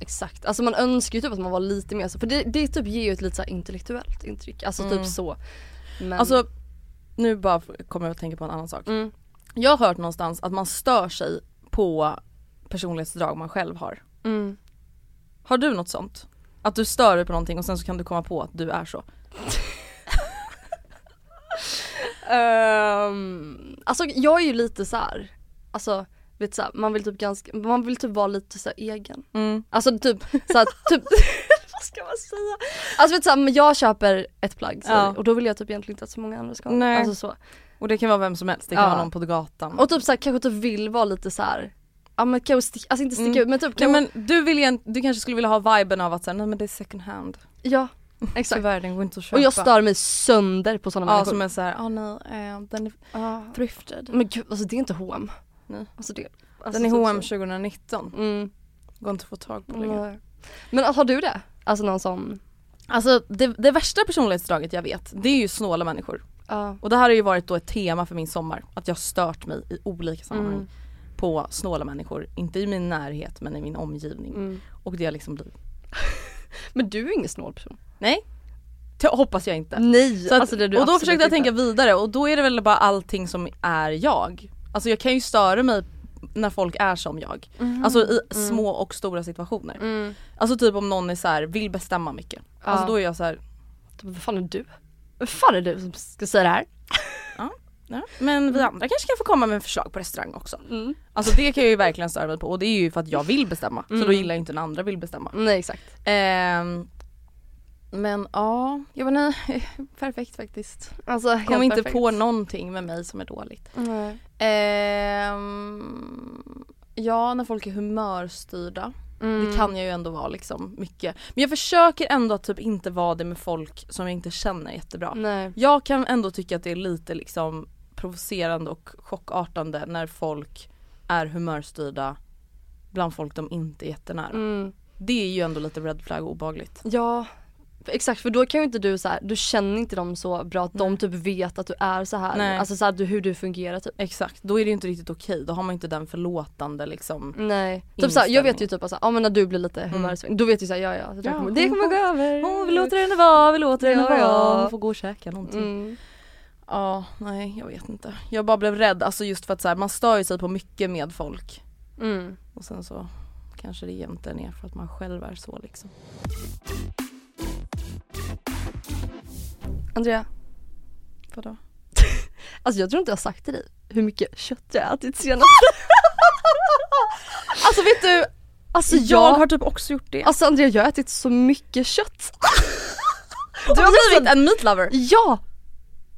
Speaker 2: exakt. Alltså man önskar ju typ att man var lite mer så, för det, det typ ger ju ett lite så här intellektuellt intryck. Alltså
Speaker 1: Mm.
Speaker 2: typ så. Men,
Speaker 1: Alltså nu bara f- kommer jag att tänka på en annan sak.
Speaker 2: Ehm. mm.
Speaker 1: Jag har hört någonstans att man stör sig på personlighetsdrag man själv har.
Speaker 2: Mm.
Speaker 1: Har du något sånt? Att du stör dig på någonting och sen så kan du komma på att du är så.
Speaker 2: Ehm, alltså jag är ju lite så här. alltså vet så här, man vill typ ganska, man vill typ vara lite så här egen.
Speaker 1: Mm.
Speaker 2: Alltså typ så här, typ vad ska man säga? Alltså vet så här, men jag köper ett plagg så,
Speaker 1: Ja.
Speaker 2: och då vill jag typ egentligen inte att så många andra ska ha det.
Speaker 1: Nej.
Speaker 2: Alltså så.
Speaker 1: Och det kan vara vem som helst, det kan
Speaker 2: Ja.
Speaker 1: vara någon på gatan.
Speaker 2: Och typ så här, kanske typ vill vara lite så här. ja men kanske stick, alltså inte
Speaker 1: Mm.
Speaker 2: sticka ut men typ
Speaker 1: Nej
Speaker 2: kanske,
Speaker 1: men du, vill igen, du kanske skulle vilja ha viben av att säga nej men det är second hand.
Speaker 2: ja exakt.
Speaker 1: Tyvärr den går inte att köpa.
Speaker 2: Och jag stör mig sönder på sådana
Speaker 1: Ja
Speaker 2: människor.
Speaker 1: som är såhär, ah, nej eh, den är
Speaker 2: Ja.
Speaker 1: thrifted.
Speaker 2: Men gud alltså det är inte H&M
Speaker 1: Nej.
Speaker 2: Alltså det, alltså
Speaker 1: Den är
Speaker 2: typ så.
Speaker 1: H&M 2019,
Speaker 2: Mm.
Speaker 1: går inte att få tag på längre.
Speaker 2: Nej. Men har du det? Alltså någon sån,
Speaker 1: Alltså det, det värsta personlighetsdraget jag vet, det är ju snåla människor.
Speaker 2: ja.
Speaker 1: Och det här har ju varit då ett tema för min sommar, att jag har stört mig i olika sammanhang
Speaker 2: Mm.
Speaker 1: på snåla människor. Inte i min närhet men i min omgivning.
Speaker 2: Mm.
Speaker 1: Och det har liksom blivit,
Speaker 2: Men du är ingen snål person.
Speaker 1: nej, det hoppas jag inte.
Speaker 2: Nej,
Speaker 1: Så att,
Speaker 2: alltså det är du
Speaker 1: och då
Speaker 2: absolut
Speaker 1: försökte jag
Speaker 2: inte.
Speaker 1: tänka vidare och då är det väl bara allting som är jag. Alltså jag kan ju störa mig när folk är som jag. Alltså i små och stora situationer.
Speaker 2: Mm-hmm. Mm.
Speaker 1: Alltså typ om någon är så här, vill bestämma mycket. Alltså
Speaker 2: Ja.
Speaker 1: då är jag så här,
Speaker 2: Vad fan är du? Vad fan är du som ska säga det här?
Speaker 1: Ja, men vi andra kanske kan få komma med förslag på restaurang också.
Speaker 2: Mm.
Speaker 1: Alltså det kan jag ju verkligen störa mig på och det är ju för att jag vill bestämma. Så då
Speaker 2: Mm.
Speaker 1: gillar jag inte när andra vill bestämma.
Speaker 2: Nej exakt.
Speaker 1: Ehm, men ja, jag vet inte, perfekt faktiskt.
Speaker 2: Alltså
Speaker 1: Kom inte på någonting med mig som är dåligt.
Speaker 2: Nej.
Speaker 1: Ehm, ja, när folk är humörstyrda.
Speaker 2: Mm.
Speaker 1: Det kan jag ju ändå vara liksom mycket. Men jag försöker ändå att typ inte vara det med folk som jag inte känner jättebra.
Speaker 2: Nej.
Speaker 1: Jag kan ändå tycka att det är lite liksom provocerande och chockartande när folk är humörstyrda bland folk de inte är jättenära.
Speaker 2: Mm.
Speaker 1: Det är ju ändå lite red flag och obehagligt.
Speaker 2: Ja, exakt för då kan ju inte du så här, du känner inte dem så bra att de
Speaker 1: Nej.
Speaker 2: typ vet att du är så här.
Speaker 1: Nej.
Speaker 2: Alltså så här, du, hur du fungerar typ.
Speaker 1: Exakt, då är det ju inte riktigt okej. Då har man inte den förlåtande liksom.
Speaker 2: Nej. Typ såhär, jag vet ju
Speaker 1: Inställning.
Speaker 2: typ att ja men när du blir lite humörsvängd, då vet du såhär ja ja, det där
Speaker 1: Ja,
Speaker 2: kommer, det kommer gå över.
Speaker 1: Åh, vi låter henne vara, vi låter henne
Speaker 2: Ja,
Speaker 1: vara.
Speaker 2: ja.
Speaker 1: Hon får gå och käka någonting.
Speaker 2: Mm.
Speaker 1: Ja, nej jag vet inte. Jag bara blev rädd, alltså just för att så här, man stör ju sig på mycket med folk.
Speaker 2: Mm.
Speaker 1: Och sen så kanske det egentligen är för att man själv är så liksom.
Speaker 2: Andrea,
Speaker 1: Vadå?
Speaker 2: alltså jag tror inte jag har sagt till dig hur mycket kött jag har ätit senast.
Speaker 1: Alltså vet du,
Speaker 2: Alltså jag,
Speaker 1: jag har typ också gjort det.
Speaker 2: alltså Andrea jag har ätit så mycket kött. Alltså,
Speaker 1: Du har blivit en meatlover.
Speaker 2: Ja!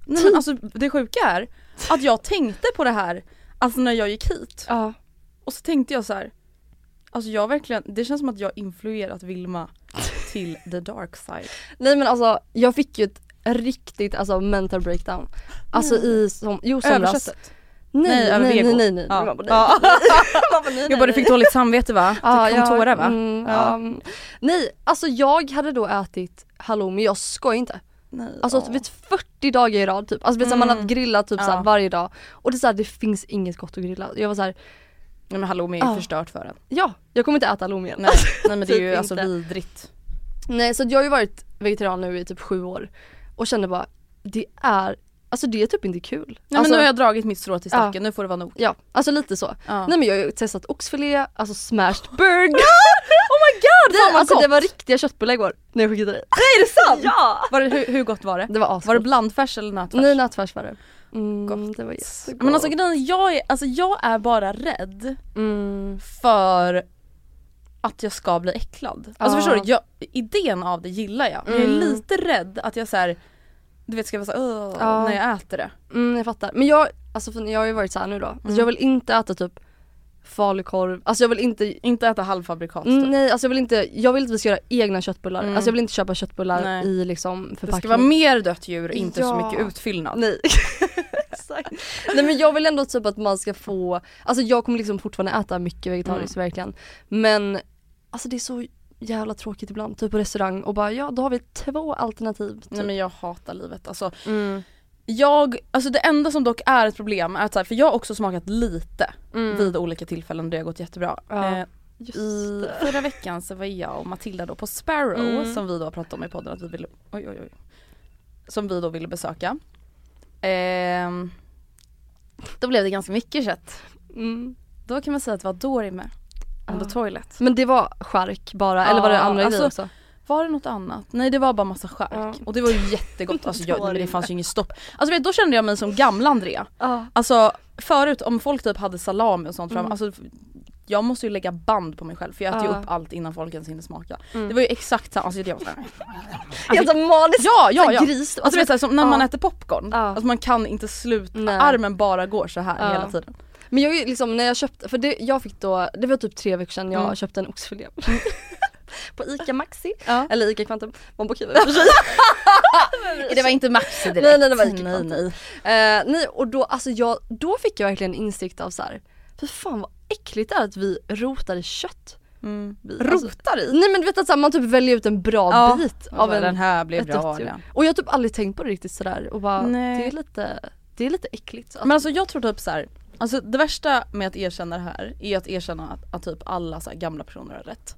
Speaker 1: Nej,
Speaker 2: Typ.
Speaker 1: men alltså, det sjuka är att jag tänkte på det här alltså när jag gick hit
Speaker 2: Ja.
Speaker 1: och så tänkte jag så här. Alltså jag verkligen, det känns som att jag influerat Vilma till the dark side.
Speaker 2: Nej men alltså jag fick ju ett riktigt alltså mental breakdown. Alltså i som, jo somras.
Speaker 1: Översättet. Mm. Nej,
Speaker 2: Nej nej
Speaker 1: över
Speaker 2: nej
Speaker 1: vego.
Speaker 2: nej nej.
Speaker 1: Ja.
Speaker 2: Man bara, nej.
Speaker 1: Ja. Typ
Speaker 2: Man bara, nej, nej,
Speaker 1: Jag bara du
Speaker 2: nej.
Speaker 1: fick dåligt samvete va?
Speaker 2: Ja,
Speaker 1: du kom tårar va?
Speaker 2: Mm, ja. Nej, alltså jag hade då ätit halloumi, jag skojar inte.
Speaker 1: Nej,
Speaker 2: Alltså
Speaker 1: ja. Mm.
Speaker 2: vet 40 dagar i rad typ. Alltså vet, så här, man har grillat typ
Speaker 1: Ja.
Speaker 2: såhär varje dag. Och det är såhär, det finns inget gott att grilla. Jag var såhär,
Speaker 1: Nej men halloumi är ju
Speaker 2: Ja.
Speaker 1: förstört för en.
Speaker 2: ja jag kommer inte äta halloumi igen.
Speaker 1: Nej, nej men det är ju
Speaker 2: typ
Speaker 1: alltså
Speaker 2: inte.
Speaker 1: vidrigt.
Speaker 2: Nej så jag har ju varit vegetarian nu i typ sju år. Och kände bara, det är Alltså det är typ inte kul.
Speaker 1: Nej
Speaker 2: alltså,
Speaker 1: men nu har jag dragit mitt strå till stacken, nu får det vara nog.
Speaker 2: Ja, alltså lite så.
Speaker 1: Ja.
Speaker 2: Nej men jag har ju testat oxfilé, alltså smashed burger.
Speaker 1: Oh my god fan
Speaker 2: det,
Speaker 1: vad
Speaker 2: alltså
Speaker 1: gott!
Speaker 2: det var riktiga köttbullar igår när jag skickade dig.
Speaker 1: Nej är det sant?
Speaker 2: Ja!
Speaker 1: Var det, hur, hur gott var det?
Speaker 2: Det var asgott.
Speaker 1: Var det blandfärs eller nötfärs?
Speaker 2: Nej nattfärs var det. Mm,
Speaker 1: Gott.
Speaker 2: Det var jättegott.
Speaker 1: Men alltså grejen är, jag är, alltså jag är bara rädd
Speaker 2: mm.
Speaker 1: för att jag ska bli äcklad. Alltså
Speaker 2: Ja.
Speaker 1: förstår du, jag, idén av det gillar jag. Men jag är
Speaker 2: Mm.
Speaker 1: lite rädd att jag så här, du vet ska vara såhär
Speaker 2: Ja.
Speaker 1: när jag äter det.
Speaker 2: Mm, jag fattar. Men jag, alltså, för jag har ju varit så här nu då. Alltså,
Speaker 1: Mm.
Speaker 2: Jag vill inte äta typ falukorv, alltså jag vill inte
Speaker 1: Inte äta halvfabrikat typ.
Speaker 2: Nej alltså jag vill inte, jag vill att vi ska göra egna köttbullar.
Speaker 1: Mm.
Speaker 2: Alltså jag vill inte köpa köttbullar
Speaker 1: Nej.
Speaker 2: i liksom förpackning.
Speaker 1: Det ska vara mer dött djur, inte så
Speaker 2: Ja.
Speaker 1: mycket utfyllnad.
Speaker 2: Nej. Exakt. Nej men jag vill ändå typ att man ska få, alltså jag kommer liksom fortfarande äta mycket vegetariskt
Speaker 1: Mm.
Speaker 2: verkligen. Men alltså det är så jävla tråkigt ibland, typ på restaurang och bara ja då har vi två alternativ. Typ.
Speaker 1: Nej men jag hatar livet. Alltså,
Speaker 2: mm.
Speaker 1: jag, alltså det enda som dock är ett problem är att så här, för jag har också smakat lite
Speaker 2: Mm.
Speaker 1: vid olika tillfällen och det har gått jättebra.
Speaker 2: Ja.
Speaker 1: Eh,
Speaker 2: Just
Speaker 1: I
Speaker 2: det.
Speaker 1: förra veckan så var jag och Matilda då på Sparrow
Speaker 2: Mm.
Speaker 1: som vi då pratade om i podden att vi ville, oj, oj, oj, som vi då ville besöka. Ehm, då blev det ganska mycket kött.
Speaker 2: Mm.
Speaker 1: Då kan man säga att det var Dory med. On the
Speaker 2: Ja.
Speaker 1: toilet.
Speaker 2: Men det var skärk bara, eller var det
Speaker 1: Ja,
Speaker 2: andra
Speaker 1: alltså,
Speaker 2: grejer också?
Speaker 1: Var det något annat? Nej det var bara massa skärk.
Speaker 2: Ja.
Speaker 1: Och det var ju jättegott. Alltså, jag,
Speaker 2: Dory
Speaker 1: men det
Speaker 2: med.
Speaker 1: fanns ju inget stopp. Alltså vet, du, då kände jag mig som gamla Andrea.
Speaker 2: Ja.
Speaker 1: Alltså förut om folk typ hade salami och sånt fram,
Speaker 2: Mm.
Speaker 1: alltså jag måste ju lägga band på mig själv för jag äter ju
Speaker 2: Ja.
Speaker 1: upp allt innan folk ens hinner smaka.
Speaker 2: Mm.
Speaker 1: Det var ju exakt samma, alltså jag var såhär,
Speaker 2: Helt som Malin,
Speaker 1: ja ja ja!
Speaker 2: gris.
Speaker 1: Alltså, vet, du, så här, som när man
Speaker 2: ja.
Speaker 1: äter popcorn,
Speaker 2: Ja.
Speaker 1: alltså man kan inte sluta,
Speaker 2: Nej.
Speaker 1: armen bara går så här
Speaker 2: Ja.
Speaker 1: hela tiden.
Speaker 2: Men jag är ju liksom när jag köpte, för det, jag fick då, det var typ tre veckor sedan jag
Speaker 1: Mm.
Speaker 2: köpte en oxfilé. på ICA Maxi,
Speaker 1: Ja.
Speaker 2: eller ICA Kvantum, Mombokiva i och för sig.
Speaker 1: Det var inte Maxi direkt.
Speaker 2: Nej, nej, det var inte
Speaker 1: nej,
Speaker 2: Kvantum.
Speaker 1: nej.
Speaker 2: Eh, nej och då, alltså jag, då fick jag verkligen insikt av så här, för fan vad äckligt det är att vi rotar i kött.
Speaker 1: Mm.
Speaker 2: Vi, alltså,
Speaker 1: Rotar i?
Speaker 2: nej men du vet att så här, man typ väljer ut en bra
Speaker 1: Ja.
Speaker 2: bit
Speaker 1: Av
Speaker 2: av en,
Speaker 1: den här blev
Speaker 2: ett
Speaker 1: bra
Speaker 2: dött djur.
Speaker 1: den.
Speaker 2: Och jag har typ aldrig tänkt på det riktigt sådär och bara
Speaker 1: Nej.
Speaker 2: det är lite, det är lite äckligt. Att,
Speaker 1: Men alltså jag tror typ så här. Alltså det värsta med att erkänna det här är att erkänna att, att typ alla så här gamla personer har rätt.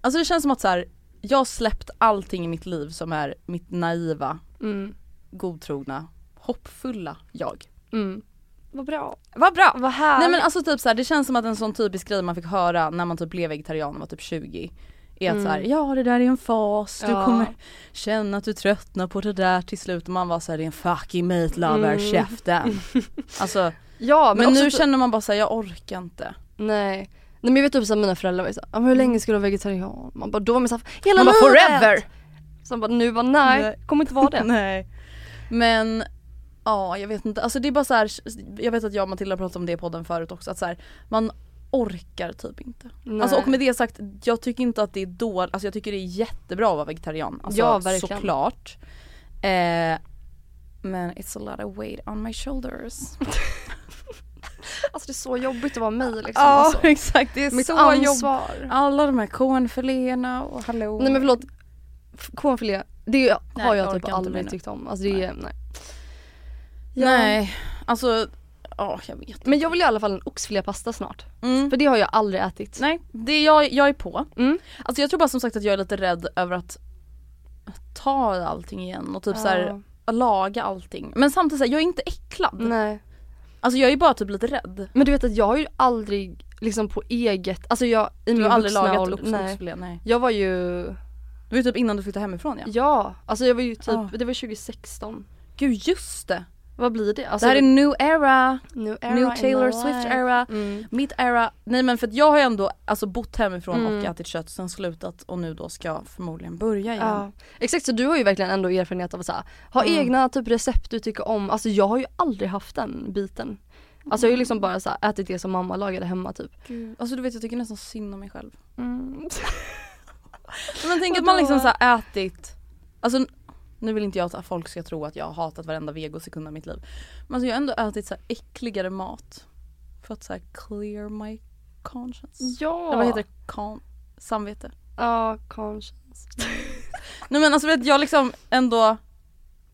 Speaker 1: Alltså det känns som att så här, jag har släppt allting i mitt liv som är mitt naiva,
Speaker 2: mm,
Speaker 1: godtrogna, hoppfulla jag.
Speaker 2: mm. Vad bra.
Speaker 1: Vad bra!
Speaker 2: Vad härligt.
Speaker 1: Nej men alltså typ så här, det känns som att en sån typisk grej man fick höra när man typ blev vegetarian och var typ 20 är att så här, ja det där är en fas, du
Speaker 2: Mm. Ja.
Speaker 1: kommer känna att du tröttnar på det där till slut och man var såhär, det är en fucking meat lover,
Speaker 2: Mm.
Speaker 1: käften. Alltså
Speaker 2: ja,
Speaker 1: men,
Speaker 2: också
Speaker 1: nu
Speaker 2: typ-
Speaker 1: känner man bara såhär, jag orkar inte.
Speaker 2: Nej. Nej men jag vet typ såhär mina föräldrar var ju såhär, "Ah, men hur länge ska du vara vegetarian? Man bara, då var man såhär, hela
Speaker 1: Man bara
Speaker 2: livet!
Speaker 1: forever!
Speaker 2: Så man bara, nu bara nej,
Speaker 1: Nej.
Speaker 2: kommer inte vara det.
Speaker 1: Nej. Men ja, jag vet inte. Alltså det är bara så här, jag vet att jag och Matilda pratat om det i podden förut också, att så här, man orkar typ inte.
Speaker 2: nej.
Speaker 1: Alltså, och med det sagt, jag tycker inte att det är dåligt, alltså jag tycker det är jättebra att vara vegetarian. Alltså,
Speaker 2: Ja, verkligen.
Speaker 1: Såklart. Eh, men it's a lot of weight on my shoulders. Liksom,
Speaker 2: alltså det är så jobbigt att vara mig liksom.
Speaker 1: Ja
Speaker 2: alltså.
Speaker 1: exakt, det är
Speaker 2: Mitt
Speaker 1: så jobbigt.
Speaker 2: ansvar.
Speaker 1: Alla de här cornfiléerna och hallå.
Speaker 2: Nej men förlåt, F- cornfilé, det har
Speaker 1: Nej, jag
Speaker 2: jag typ
Speaker 1: orkar inte med
Speaker 2: aldrig
Speaker 1: det.
Speaker 2: tyckt om. Alltså det är, nej. Ja.
Speaker 1: Nej, alltså ja jag vet inte.
Speaker 2: Men jag vill i alla fall en oxfilépasta snart.
Speaker 1: Mm.
Speaker 2: För det har jag aldrig ätit.
Speaker 1: Nej, det är jag, jag är på.
Speaker 2: Mm.
Speaker 1: Alltså jag tror bara som sagt att jag är lite rädd över att ta allting igen och typ så här, laga allting. Men samtidigt så här, jag är inte äcklad.
Speaker 2: nej.
Speaker 1: Alltså jag är bara typ lite rädd.
Speaker 2: Men du vet att jag har ju aldrig liksom på eget, alltså jag i
Speaker 1: Du
Speaker 2: min
Speaker 1: har aldrig
Speaker 2: vuxna
Speaker 1: lagat
Speaker 2: ålder- nej.
Speaker 1: oxfilé? Nej.
Speaker 2: Jag var ju
Speaker 1: Det var ju typ innan du flyttade hemifrån ja.
Speaker 2: Ja, alltså jag var ju typ,
Speaker 1: Ja.
Speaker 2: det var 2016.
Speaker 1: Gud just det!
Speaker 2: Vad blir det?
Speaker 1: Det
Speaker 2: Alltså,
Speaker 1: här är new era,
Speaker 2: new,
Speaker 1: new Taylor Swift era,
Speaker 2: Mm.
Speaker 1: mitt era. Nej men för att jag har ju ändå alltså, bott hemifrån och
Speaker 2: Mm.
Speaker 1: ätit kött sen slutat och nu då ska jag förmodligen börja igen.
Speaker 2: Ja. Exakt så du har ju verkligen ändå erfarenhet av att så här, ha
Speaker 1: Mm.
Speaker 2: egna typ recept du tycker om. Alltså jag har ju aldrig haft den biten. Alltså jag har ju liksom bara så här, ätit det som mamma lagade hemma typ.
Speaker 1: Gud. Alltså du vet jag tycker nästan synd om mig själv.
Speaker 2: Mm.
Speaker 1: Men tänk att man liksom så här ätit, alltså nu vill inte jag att folk ska tro att jag har hatat varenda vegosekund av mitt liv. Men alltså jag har ändå ätit så här äckligare mat. För att så här clear my conscience.
Speaker 2: Ja.
Speaker 1: Eller vad heter det? Con- samvete.
Speaker 2: Ja, kanske.
Speaker 1: Nej men alltså vet jag har liksom ändå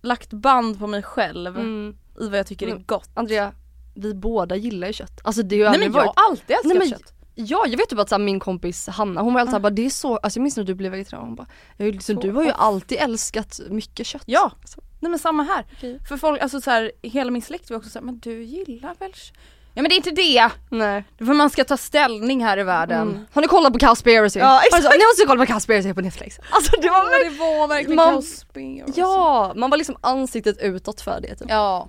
Speaker 1: lagt band på mig själv
Speaker 2: Mm.
Speaker 1: i vad jag tycker är
Speaker 2: Mm.
Speaker 1: gott.
Speaker 2: Andrea, vi båda gillar ju kött. Alltså det har ju
Speaker 1: Nej
Speaker 2: aldrig
Speaker 1: men jag har
Speaker 2: varit.
Speaker 1: alltid älskat
Speaker 2: Nej, men-
Speaker 1: kött.
Speaker 2: Ja jag vet typ att så här, min kompis Hanna, hon var alltid såhär bara det är så, alltså jag minns när du blev vegetarian, hon bara "Ja, liksom,
Speaker 1: Ah. Så
Speaker 2: du har ju
Speaker 1: off."
Speaker 2: alltid älskat mycket kött.
Speaker 1: Ja,
Speaker 2: Så,
Speaker 1: nej men samma här.
Speaker 2: Okej.
Speaker 1: För folk, alltså så här, hela min släkt var också såhär, men du gillar väl kö-" Ja men det är inte det!
Speaker 2: Nej.
Speaker 1: Det är För man ska ta ställning här i världen.
Speaker 2: Mm. Har ni kollat på Cowspiracy?
Speaker 1: Ja, exakt.
Speaker 2: Har ni så- Ni måste kolla på Cowspiracy på Netflix. Alltså det
Speaker 1: Ja,
Speaker 2: var verkligen
Speaker 1: det var verkligen
Speaker 2: Man-
Speaker 1: kaosspel.
Speaker 2: Ja, man var liksom ansiktet utåt för det typ.
Speaker 1: Ja.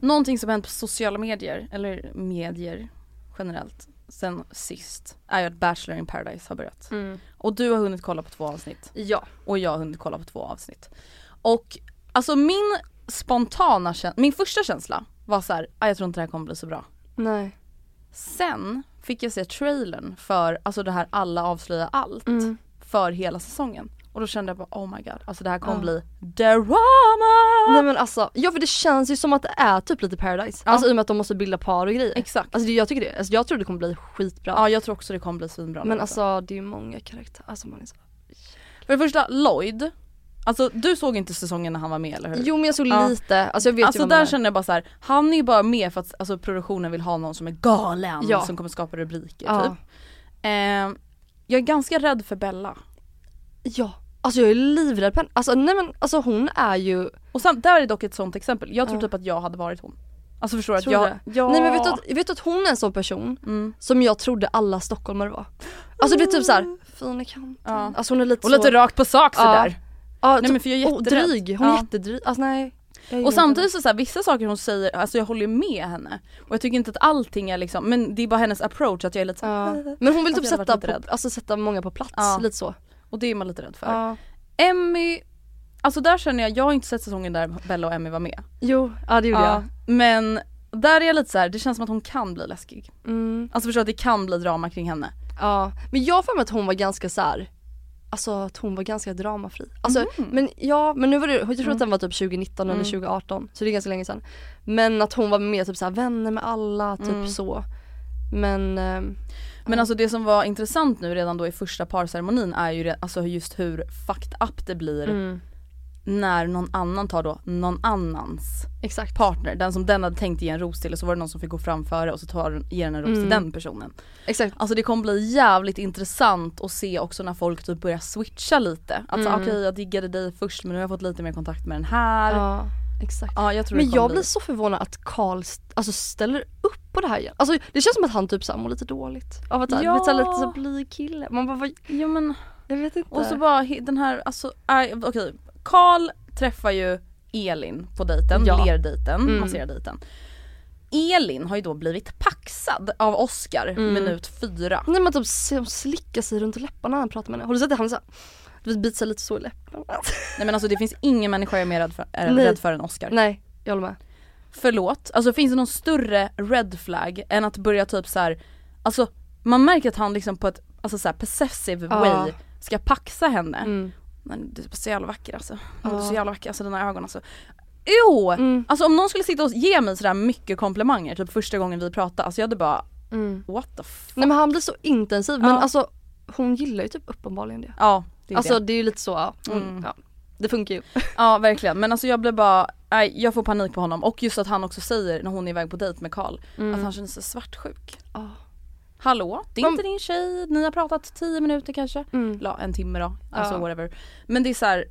Speaker 1: Någonting som hänt på sociala medier, eller medier generellt, sen sist är ju att Bachelor in paradise har börjat.
Speaker 2: Mm.
Speaker 1: Och du har hunnit kolla på två avsnitt
Speaker 2: Ja.
Speaker 1: och jag har hunnit kolla på två avsnitt. Och alltså min spontana känsla, min första känsla var så här, "Ah, jag tror inte det här kommer bli så bra.
Speaker 2: Nej.
Speaker 1: Sen fick jag se trailern för, alltså det här alla avslöjar allt
Speaker 2: Mm.
Speaker 1: för hela säsongen. Och då kände jag bara oh my god, alltså det här kommer bli drama!
Speaker 2: Nej men alltså, ja för det känns ju som att det är typ lite paradise. Alltså i och med att de måste bilda par och grejer.
Speaker 1: Exakt.
Speaker 2: Alltså det, jag tycker det, alltså, jag tror det kommer bli skitbra.
Speaker 1: Ja jag tror också det kommer bli svinbra.
Speaker 2: men
Speaker 1: nu,
Speaker 2: alltså det är ju många karaktärer, alltså man är så...
Speaker 1: För det första, Lloyd. Alltså du såg inte säsongen när han var med eller hur?
Speaker 2: Jo men jag såg
Speaker 1: Mm. Ja.
Speaker 2: lite, alltså jag vet ju
Speaker 1: alltså
Speaker 2: vad man
Speaker 1: där
Speaker 2: är.
Speaker 1: känner jag bara så här, han är ju bara med för att alltså, produktionen vill ha någon som är galen
Speaker 2: Ja.
Speaker 1: som kommer skapa rubriker
Speaker 2: Ja.
Speaker 1: typ. Ehm, jag är ganska rädd för Bella.
Speaker 2: Ja. Alltså jag är livrädd på henne. Alltså nej men alltså hon är ju
Speaker 1: Och sen, där är dock ett sånt exempel, jag tror
Speaker 2: Ja.
Speaker 1: typ att jag hade varit hon. Alltså förstår du Mm. att
Speaker 2: Tror
Speaker 1: jag,
Speaker 2: du det? Nej men vet du, att, vet du att hon är en sån person som jag trodde alla stockholmare var? Alltså det är typ såhär, fin i kanten.
Speaker 1: Ja.
Speaker 2: Alltså hon är lite
Speaker 1: Och lite
Speaker 2: så,
Speaker 1: rakt på sak sådär.
Speaker 2: ja,
Speaker 1: Nej, men för jag är
Speaker 2: och
Speaker 1: jätterädd.
Speaker 2: dryg, hon är
Speaker 1: Ja.
Speaker 2: jättedryg. Alltså nej. jag gillar
Speaker 1: Och
Speaker 2: inte
Speaker 1: samtidigt så, så här, vissa saker hon säger, alltså jag håller ju med henne. Och jag tycker inte att allting är liksom, men det är bara hennes approach att jag är lite så här,
Speaker 2: henne. Ja. Men hon vill
Speaker 1: Alltså,
Speaker 2: typ
Speaker 1: jag hade
Speaker 2: sätta,
Speaker 1: varit lite
Speaker 2: på, alltså, sätta många på plats,
Speaker 1: Ja.
Speaker 2: lite så.
Speaker 1: och det är man lite rädd för.
Speaker 2: Ja.
Speaker 1: Emmy, alltså där känner jag, jag har inte sett säsongen där Bella och Emmy var med.
Speaker 2: Jo, ja det gjorde jag.
Speaker 1: Men där är jag lite så här, det känns som att hon kan bli läskig.
Speaker 2: Mm.
Speaker 1: Alltså förstå att det kan bli drama kring henne.
Speaker 2: Ja, men jag har för mig att hon var ganska så här. Alltså att hon var ganska dramafri. Alltså,
Speaker 1: Mm.
Speaker 2: men ja, men nu var det, jag tror att den var typ 2019 eller 2018 så det är ganska länge sedan. Men att hon var med typ så här, vänner med alla, typ
Speaker 1: Mm.
Speaker 2: så. Men ehm,
Speaker 1: Men alltså det som var intressant nu redan då i första parceremonin är ju det, alltså just hur fucked up det blir
Speaker 2: Mm.
Speaker 1: när någon annan tar då någon annans
Speaker 2: exakt.
Speaker 1: partner. Den som den hade tänkt ge en ros till och så var det någon som fick gå framföre och så tar, den- ger den en ros
Speaker 2: Mm.
Speaker 1: till den personen.
Speaker 2: Exakt.
Speaker 1: Alltså det kommer bli jävligt intressant att se också när folk typ börjar switcha lite. Alltså
Speaker 2: Mm.
Speaker 1: okej jag diggade dig först men nu har jag fått lite mer kontakt med den här. Ja,
Speaker 2: Ja, exakt.
Speaker 1: jag tror
Speaker 2: Men
Speaker 1: det kommer
Speaker 2: jag
Speaker 1: bli-
Speaker 2: blir så förvånad att Karl st- alltså, ställer upp på det här igen. Alltså det känns som att han typ så här, mår lite dåligt. Av att han
Speaker 1: Ja.
Speaker 2: lite så här, lite så här, blyg kille. Man bara, vad,
Speaker 1: Ja, men,
Speaker 2: jag vet inte.
Speaker 1: och så bara he- den här, alltså aj, okej. Karl träffar ju Elin på dejten,
Speaker 2: Ja. Mm.
Speaker 1: lerdejten, masserardejten. Elin har ju då blivit paxad av Oscar
Speaker 2: Mm.
Speaker 1: minut fyra.
Speaker 2: Nej men typ se- hon slickar sig runt läpparna när han pratar med henne. Har du sett det? Han är såhär, du vet biter sig lite så i läpparna.
Speaker 1: Nej men alltså det finns ingen människa jag är mer rädd för, är
Speaker 2: Nej.
Speaker 1: rädd för än Oscar.
Speaker 2: Nej, jag håller med.
Speaker 1: förlåt, alltså finns det någon större red flag än att börja typ så här, alltså man märker att han liksom på ett alltså så här possessive
Speaker 2: Ja. Mm.
Speaker 1: way ska paxa henne. Men du är så jävla vacker alltså. Du är så jävla vacker, alltså dina ögon alltså. Jo!
Speaker 2: Mm.
Speaker 1: Alltså om någon skulle sitta och ge mig sådär mycket komplimanger typ första gången vi pratade, alltså jag hade bara what the fuck.
Speaker 2: Nej men han blir så intensiv men
Speaker 1: Ja.
Speaker 2: alltså hon gillar ju typ uppenbarligen det.
Speaker 1: Ja, det är
Speaker 2: alltså
Speaker 1: det. Mm.
Speaker 2: det är ju lite så, ja. Hon, ja. Det funkar ju.
Speaker 1: Ja verkligen men alltså jag blev bara, nej jag får panik på honom och just att han också säger när hon är iväg på dejt med Karl
Speaker 2: Mm.
Speaker 1: att han känner sig svartsjuk.
Speaker 2: Ja.
Speaker 1: Hallå, det är
Speaker 2: Man-
Speaker 1: inte din tjej, ni har Mm. pratat 10 minuter kanske, la en timme då, alltså
Speaker 2: Ja.
Speaker 1: whatever. Men det är så här.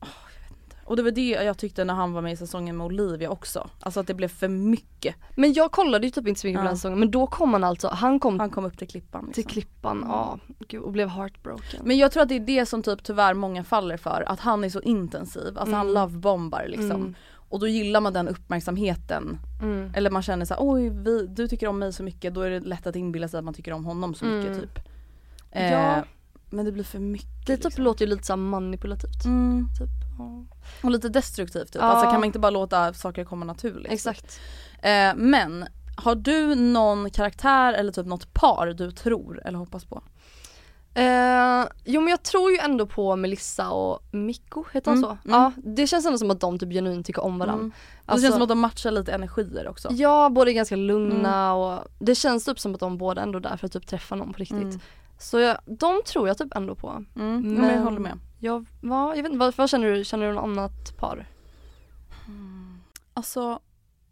Speaker 1: åh, jag vet Och det var det jag tyckte när han var med i säsongen med Olivia också. Alltså att det blev för mycket.
Speaker 2: Men jag kollade ju typ inte så mycket på
Speaker 1: Ja.
Speaker 2: den säsongen men då kom han alltså, han kom
Speaker 1: Han kom upp till klippan. Liksom.
Speaker 2: till klippan ja, gud, och blev heartbroken.
Speaker 1: Men jag tror att det är det som typ tyvärr många faller för, att han är så intensiv, alltså han lovebombar liksom. Och då gillar man den uppmärksamheten. Eller man känner så här, oj vi, du tycker om mig så mycket, då är det lätt att inbilla sig att man tycker om honom så mycket typ. Eh,
Speaker 2: Ja.
Speaker 1: Men det blir för mycket.
Speaker 2: det typ
Speaker 1: liksom.
Speaker 2: låter ju lite så här manipulativt.
Speaker 1: mm.
Speaker 2: Typ. Ja.
Speaker 1: Och lite destruktivt typ,
Speaker 2: Ja.
Speaker 1: alltså kan man inte bara låta saker komma naturligt.
Speaker 2: Exakt.
Speaker 1: Eh, men har du någon karaktär eller typ något par du tror eller hoppas på? Alltså,
Speaker 2: Eh, jo men jag tror ju ändå på Melissa och Mikko, heter han
Speaker 1: Mm,
Speaker 2: så?
Speaker 1: mm.
Speaker 2: Ja, det känns ändå som att de typ genuint tycker om varandra.
Speaker 1: Mm. det
Speaker 2: Alltså-
Speaker 1: känns som att de matchar lite energier också.
Speaker 2: Ja, båda är ganska
Speaker 1: Mm.
Speaker 2: lugna och det känns typ som att de båda ändå är där för att typ träffa någon på riktigt. Så jag, de tror jag typ ändå på.
Speaker 1: Mm. Men, men jag
Speaker 2: Men-
Speaker 1: håller med.
Speaker 2: Jag, va, jag vet inte, vad, vad känner du, känner du något annat par?
Speaker 1: Alltså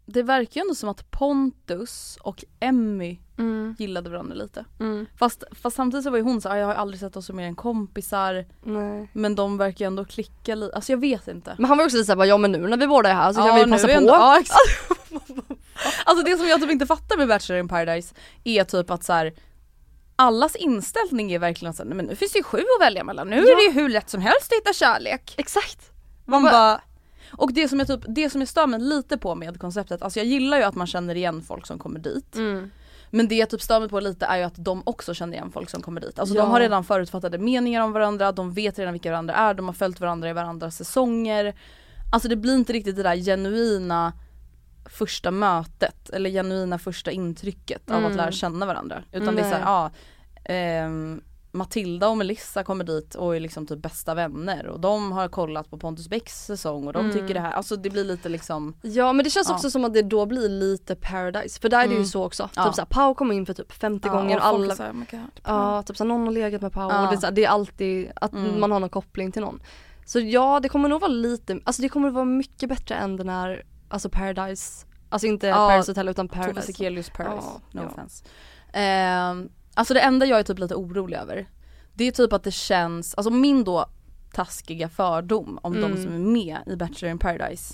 Speaker 1: det verkar ju ändå som att Pontus och Emmy gillade varandra lite. Fast, fast samtidigt så var ju hon så här, "Ah, jag har aldrig sett oss som mer än kompisar
Speaker 2: Nej.
Speaker 1: men de verkar ju ändå klicka lite, alltså jag vet inte.
Speaker 2: Men han var också lite såhär, ja men nu när vi båda är här så
Speaker 1: Ja,
Speaker 2: Alltså, kan vi
Speaker 1: nu
Speaker 2: passa
Speaker 1: är
Speaker 2: på.
Speaker 1: ändå- ja, exakt. alltså det som jag typ inte fattar med Bachelor in paradise är typ att så här allas inställning är verkligen såhär, men nu finns det ju sju att välja mellan, nu är det ju hur lätt som helst att hitta kärlek.
Speaker 2: Exakt.
Speaker 1: Man bara... Och det som, jag typ, det som jag stör mig lite på med konceptet, alltså jag gillar ju att man känner igen folk som kommer dit. Men det jag typ stör mig på lite är ju att de också känner igen folk som kommer dit. Alltså
Speaker 2: Ja.
Speaker 1: de har redan förutfattade meningar om varandra, de vet redan vilka varandra är, de har följt varandra i varandras säsonger. Alltså det blir inte riktigt det där genuina första mötet eller genuina första intrycket
Speaker 2: Mm.
Speaker 1: av att lära känna varandra. Utan det är såhär, ja ehm, Matilda och Melissa kommer dit och är liksom typ bästa vänner och de har kollat på Pontus Becks säsong och de
Speaker 2: Mm.
Speaker 1: tycker det här, alltså det blir lite liksom
Speaker 2: Ja men det känns
Speaker 1: Ja. Mm.
Speaker 2: också som att det då blir lite paradise, för där är det ju så också.
Speaker 1: Ja.
Speaker 2: Typ såhär, Pau kom in för typ 50 gånger och
Speaker 1: Ja, och folk
Speaker 2: alla,
Speaker 1: är så här, "Oh my God,
Speaker 2: ja typ såhär någon har legat med Pau
Speaker 1: Ja.
Speaker 2: och det är, såhär, det är alltid att man har någon koppling till någon. Så ja det kommer nog vara lite, alltså det kommer vara mycket bättre än den här, alltså paradise, alltså inte
Speaker 1: Ja,
Speaker 2: paradise hotel utan
Speaker 1: Tove
Speaker 2: paradise.
Speaker 1: Sekelius Paradise,
Speaker 2: Ja,
Speaker 1: no
Speaker 2: ja.
Speaker 1: offense. Ehm, alltså det enda jag är typ lite orolig över det är typ att det känns, alltså min då taskiga fördom om
Speaker 2: Mm.
Speaker 1: de som är med i Bachelor in Paradise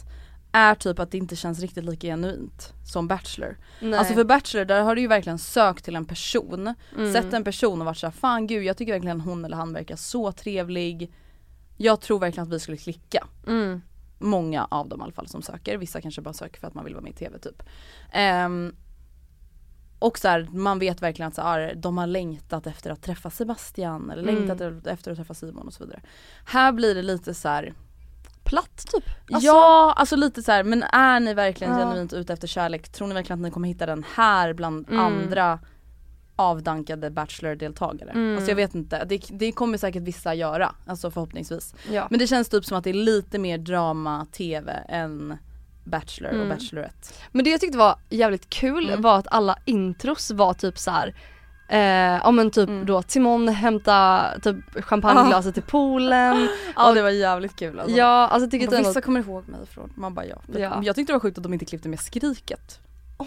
Speaker 1: är typ att det inte känns riktigt lika genuint som Bachelor.
Speaker 2: Nej.
Speaker 1: Alltså för Bachelor där har du ju verkligen sökt till en person,
Speaker 2: Mm.
Speaker 1: sett en person och varit såhär fan gud jag tycker verkligen hon eller han verkar så trevlig. Jag tror verkligen att vi skulle klicka.
Speaker 2: Mm.
Speaker 1: Många av dem i alla fall som söker, vissa kanske bara söker för att man vill vara med i TV typ. Ehm, och så här, man vet verkligen att så här, de har längtat efter att träffa Sebastian eller längtat efter att träffa Simon och så vidare. Här blir det lite så här,
Speaker 2: Platt typ.
Speaker 1: ja alltså lite så här, men är ni verkligen genuint ute efter kärlek? Tror ni verkligen att ni kommer hitta den här bland andra avdankade Bachelor-deltagare? Alltså jag vet inte, det, det kommer säkert vissa göra, alltså förhoppningsvis.
Speaker 2: Ja.
Speaker 1: Men det känns typ som att det är lite mer drama-tv än Bachelor och Bachelorette.
Speaker 2: Men det jag tyckte var jävligt kul var att alla intros var typ så här. Eh, ja men typ då Timon hämta typ champagneglaset till poolen.
Speaker 1: Ja det var jävligt kul alltså.
Speaker 2: Ja alltså jag tycker
Speaker 1: Bara,
Speaker 2: att det
Speaker 1: vissa
Speaker 2: var
Speaker 1: kommer ihåg mig från, man bara ja. För
Speaker 2: Ja.
Speaker 1: Jag tyckte det var sjukt att de inte klippte med skriket.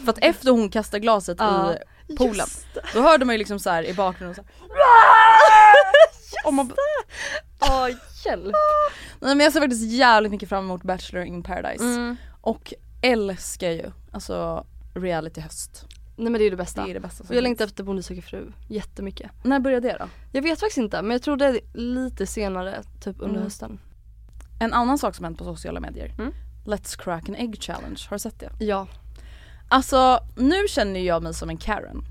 Speaker 1: för att efter hon kastar glaset
Speaker 2: Ja.
Speaker 1: i poolen, då hörde man ju liksom så här i bakgrunden så här, och man, bara-
Speaker 2: Ja hjälp.
Speaker 1: Nej men jag ser faktiskt jävligt mycket fram emot Bachelor in paradise.
Speaker 2: Mm.
Speaker 1: Och älskar ju alltså reality höst.
Speaker 2: Nej men det är ju det
Speaker 1: Det
Speaker 2: bästa.
Speaker 1: är det bästa som
Speaker 2: Och jag
Speaker 1: finns.
Speaker 2: längtar efter Bonde söker fru jättemycket.
Speaker 1: När börjar det då?
Speaker 2: Jag vet faktiskt inte men jag tror det är lite senare typ under hösten.
Speaker 1: En annan sak som hänt på sociala medier.
Speaker 2: Mm.
Speaker 1: Let's crack an egg challenge, har du sett det?
Speaker 2: Ja.
Speaker 1: Alltså nu känner ju jag mig som en Karen.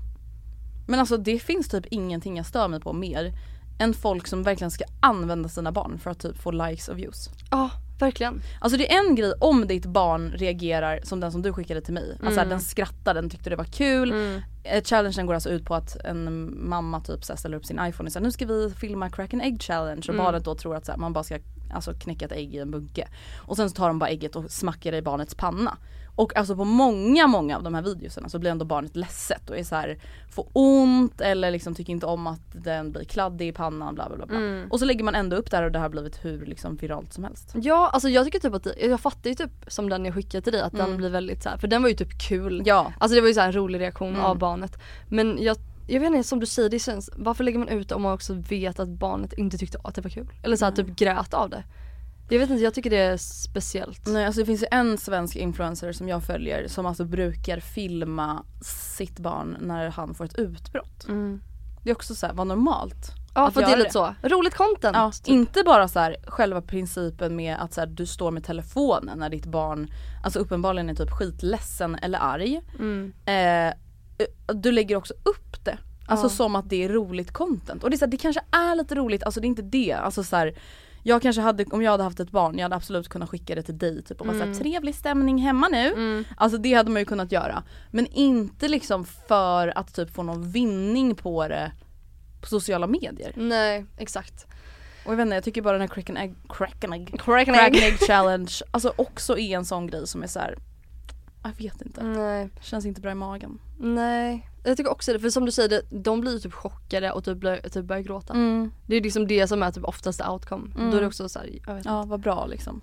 Speaker 1: Men alltså det finns typ ingenting jag stör mig på mer än folk som verkligen ska använda sina barn för att typ få likes och views.
Speaker 2: Ja verkligen.
Speaker 1: Alltså det är en grej om ditt barn reagerar som den som du skickade till mig. Alltså den skrattar, den tyckte det var kul. Eh, Challengen går alltså ut på att en mamma typ så här ställer upp sin iPhone och säger nu ska vi filma crack an egg challenge och barnet då tror att så här, man bara ska alltså, knäcka ett ägg i en bunke. Och sen så tar de bara ägget och smackar det i barnets panna. Och alltså på många, många av de här videoserna så blir ändå barnet ledset och är så här, får ont eller liksom tycker inte om att den blir kladdig i pannan bla bla bla. bla. Och så lägger man ändå upp det här och det här har blivit hur liksom viralt som helst.
Speaker 2: Ja alltså jag tycker typ att, det- jag fattar ju typ som den jag skickade till dig att den blir väldigt så här, för den var ju typ kul.
Speaker 1: Ja.
Speaker 2: Alltså det var ju så här en rolig reaktion av barnet. Men jag, jag vet inte, som du säger, det känns, Mm. varför lägger man ut det om man också vet att barnet inte tyckte att det var kul? Eller så här, typ grät av det. Jag vet inte, jag tycker det är speciellt.
Speaker 1: Nej alltså det finns ju en svensk influencer som jag följer som alltså brukar filma sitt barn när han får ett utbrott. Det är också så här, vad normalt.
Speaker 2: Mm. Ja
Speaker 1: att
Speaker 2: för att det är
Speaker 1: göra
Speaker 2: lite så, roligt content.
Speaker 1: Ja,
Speaker 2: typ.
Speaker 1: inte bara så här, själva principen med att så här, du står med telefonen när ditt barn alltså uppenbarligen är typ skitledsen eller arg. Eh, du lägger också upp det. Alltså som att det är roligt content. Och det, är så här, det kanske är lite roligt, alltså det är inte det. Alltså, så här, jag kanske hade, om jag hade haft ett barn, jag hade absolut kunnat skicka det till dig typ och bara så här, trevlig stämning hemma nu. Alltså det hade man ju kunnat göra. Men inte liksom för att typ få någon vinning på det på sociala medier.
Speaker 2: Nej exakt.
Speaker 1: Och jag vet inte, jag tycker bara den här crack and egg, crack and egg,
Speaker 2: Crack
Speaker 1: crack and egg challenge, alltså också är en sån grej som är så här. jag vet inte,
Speaker 2: Nej.
Speaker 1: känns inte bra i magen.
Speaker 2: Nej. Jag tycker också det, för som du säger, det- de blir ju typ chockade och typ, blir, typ börjar gråta.
Speaker 1: Mm.
Speaker 2: Det är ju liksom det som är typ oftast outcome. Då är det också såhär, jag vet inte.
Speaker 1: Ja, vad bra liksom.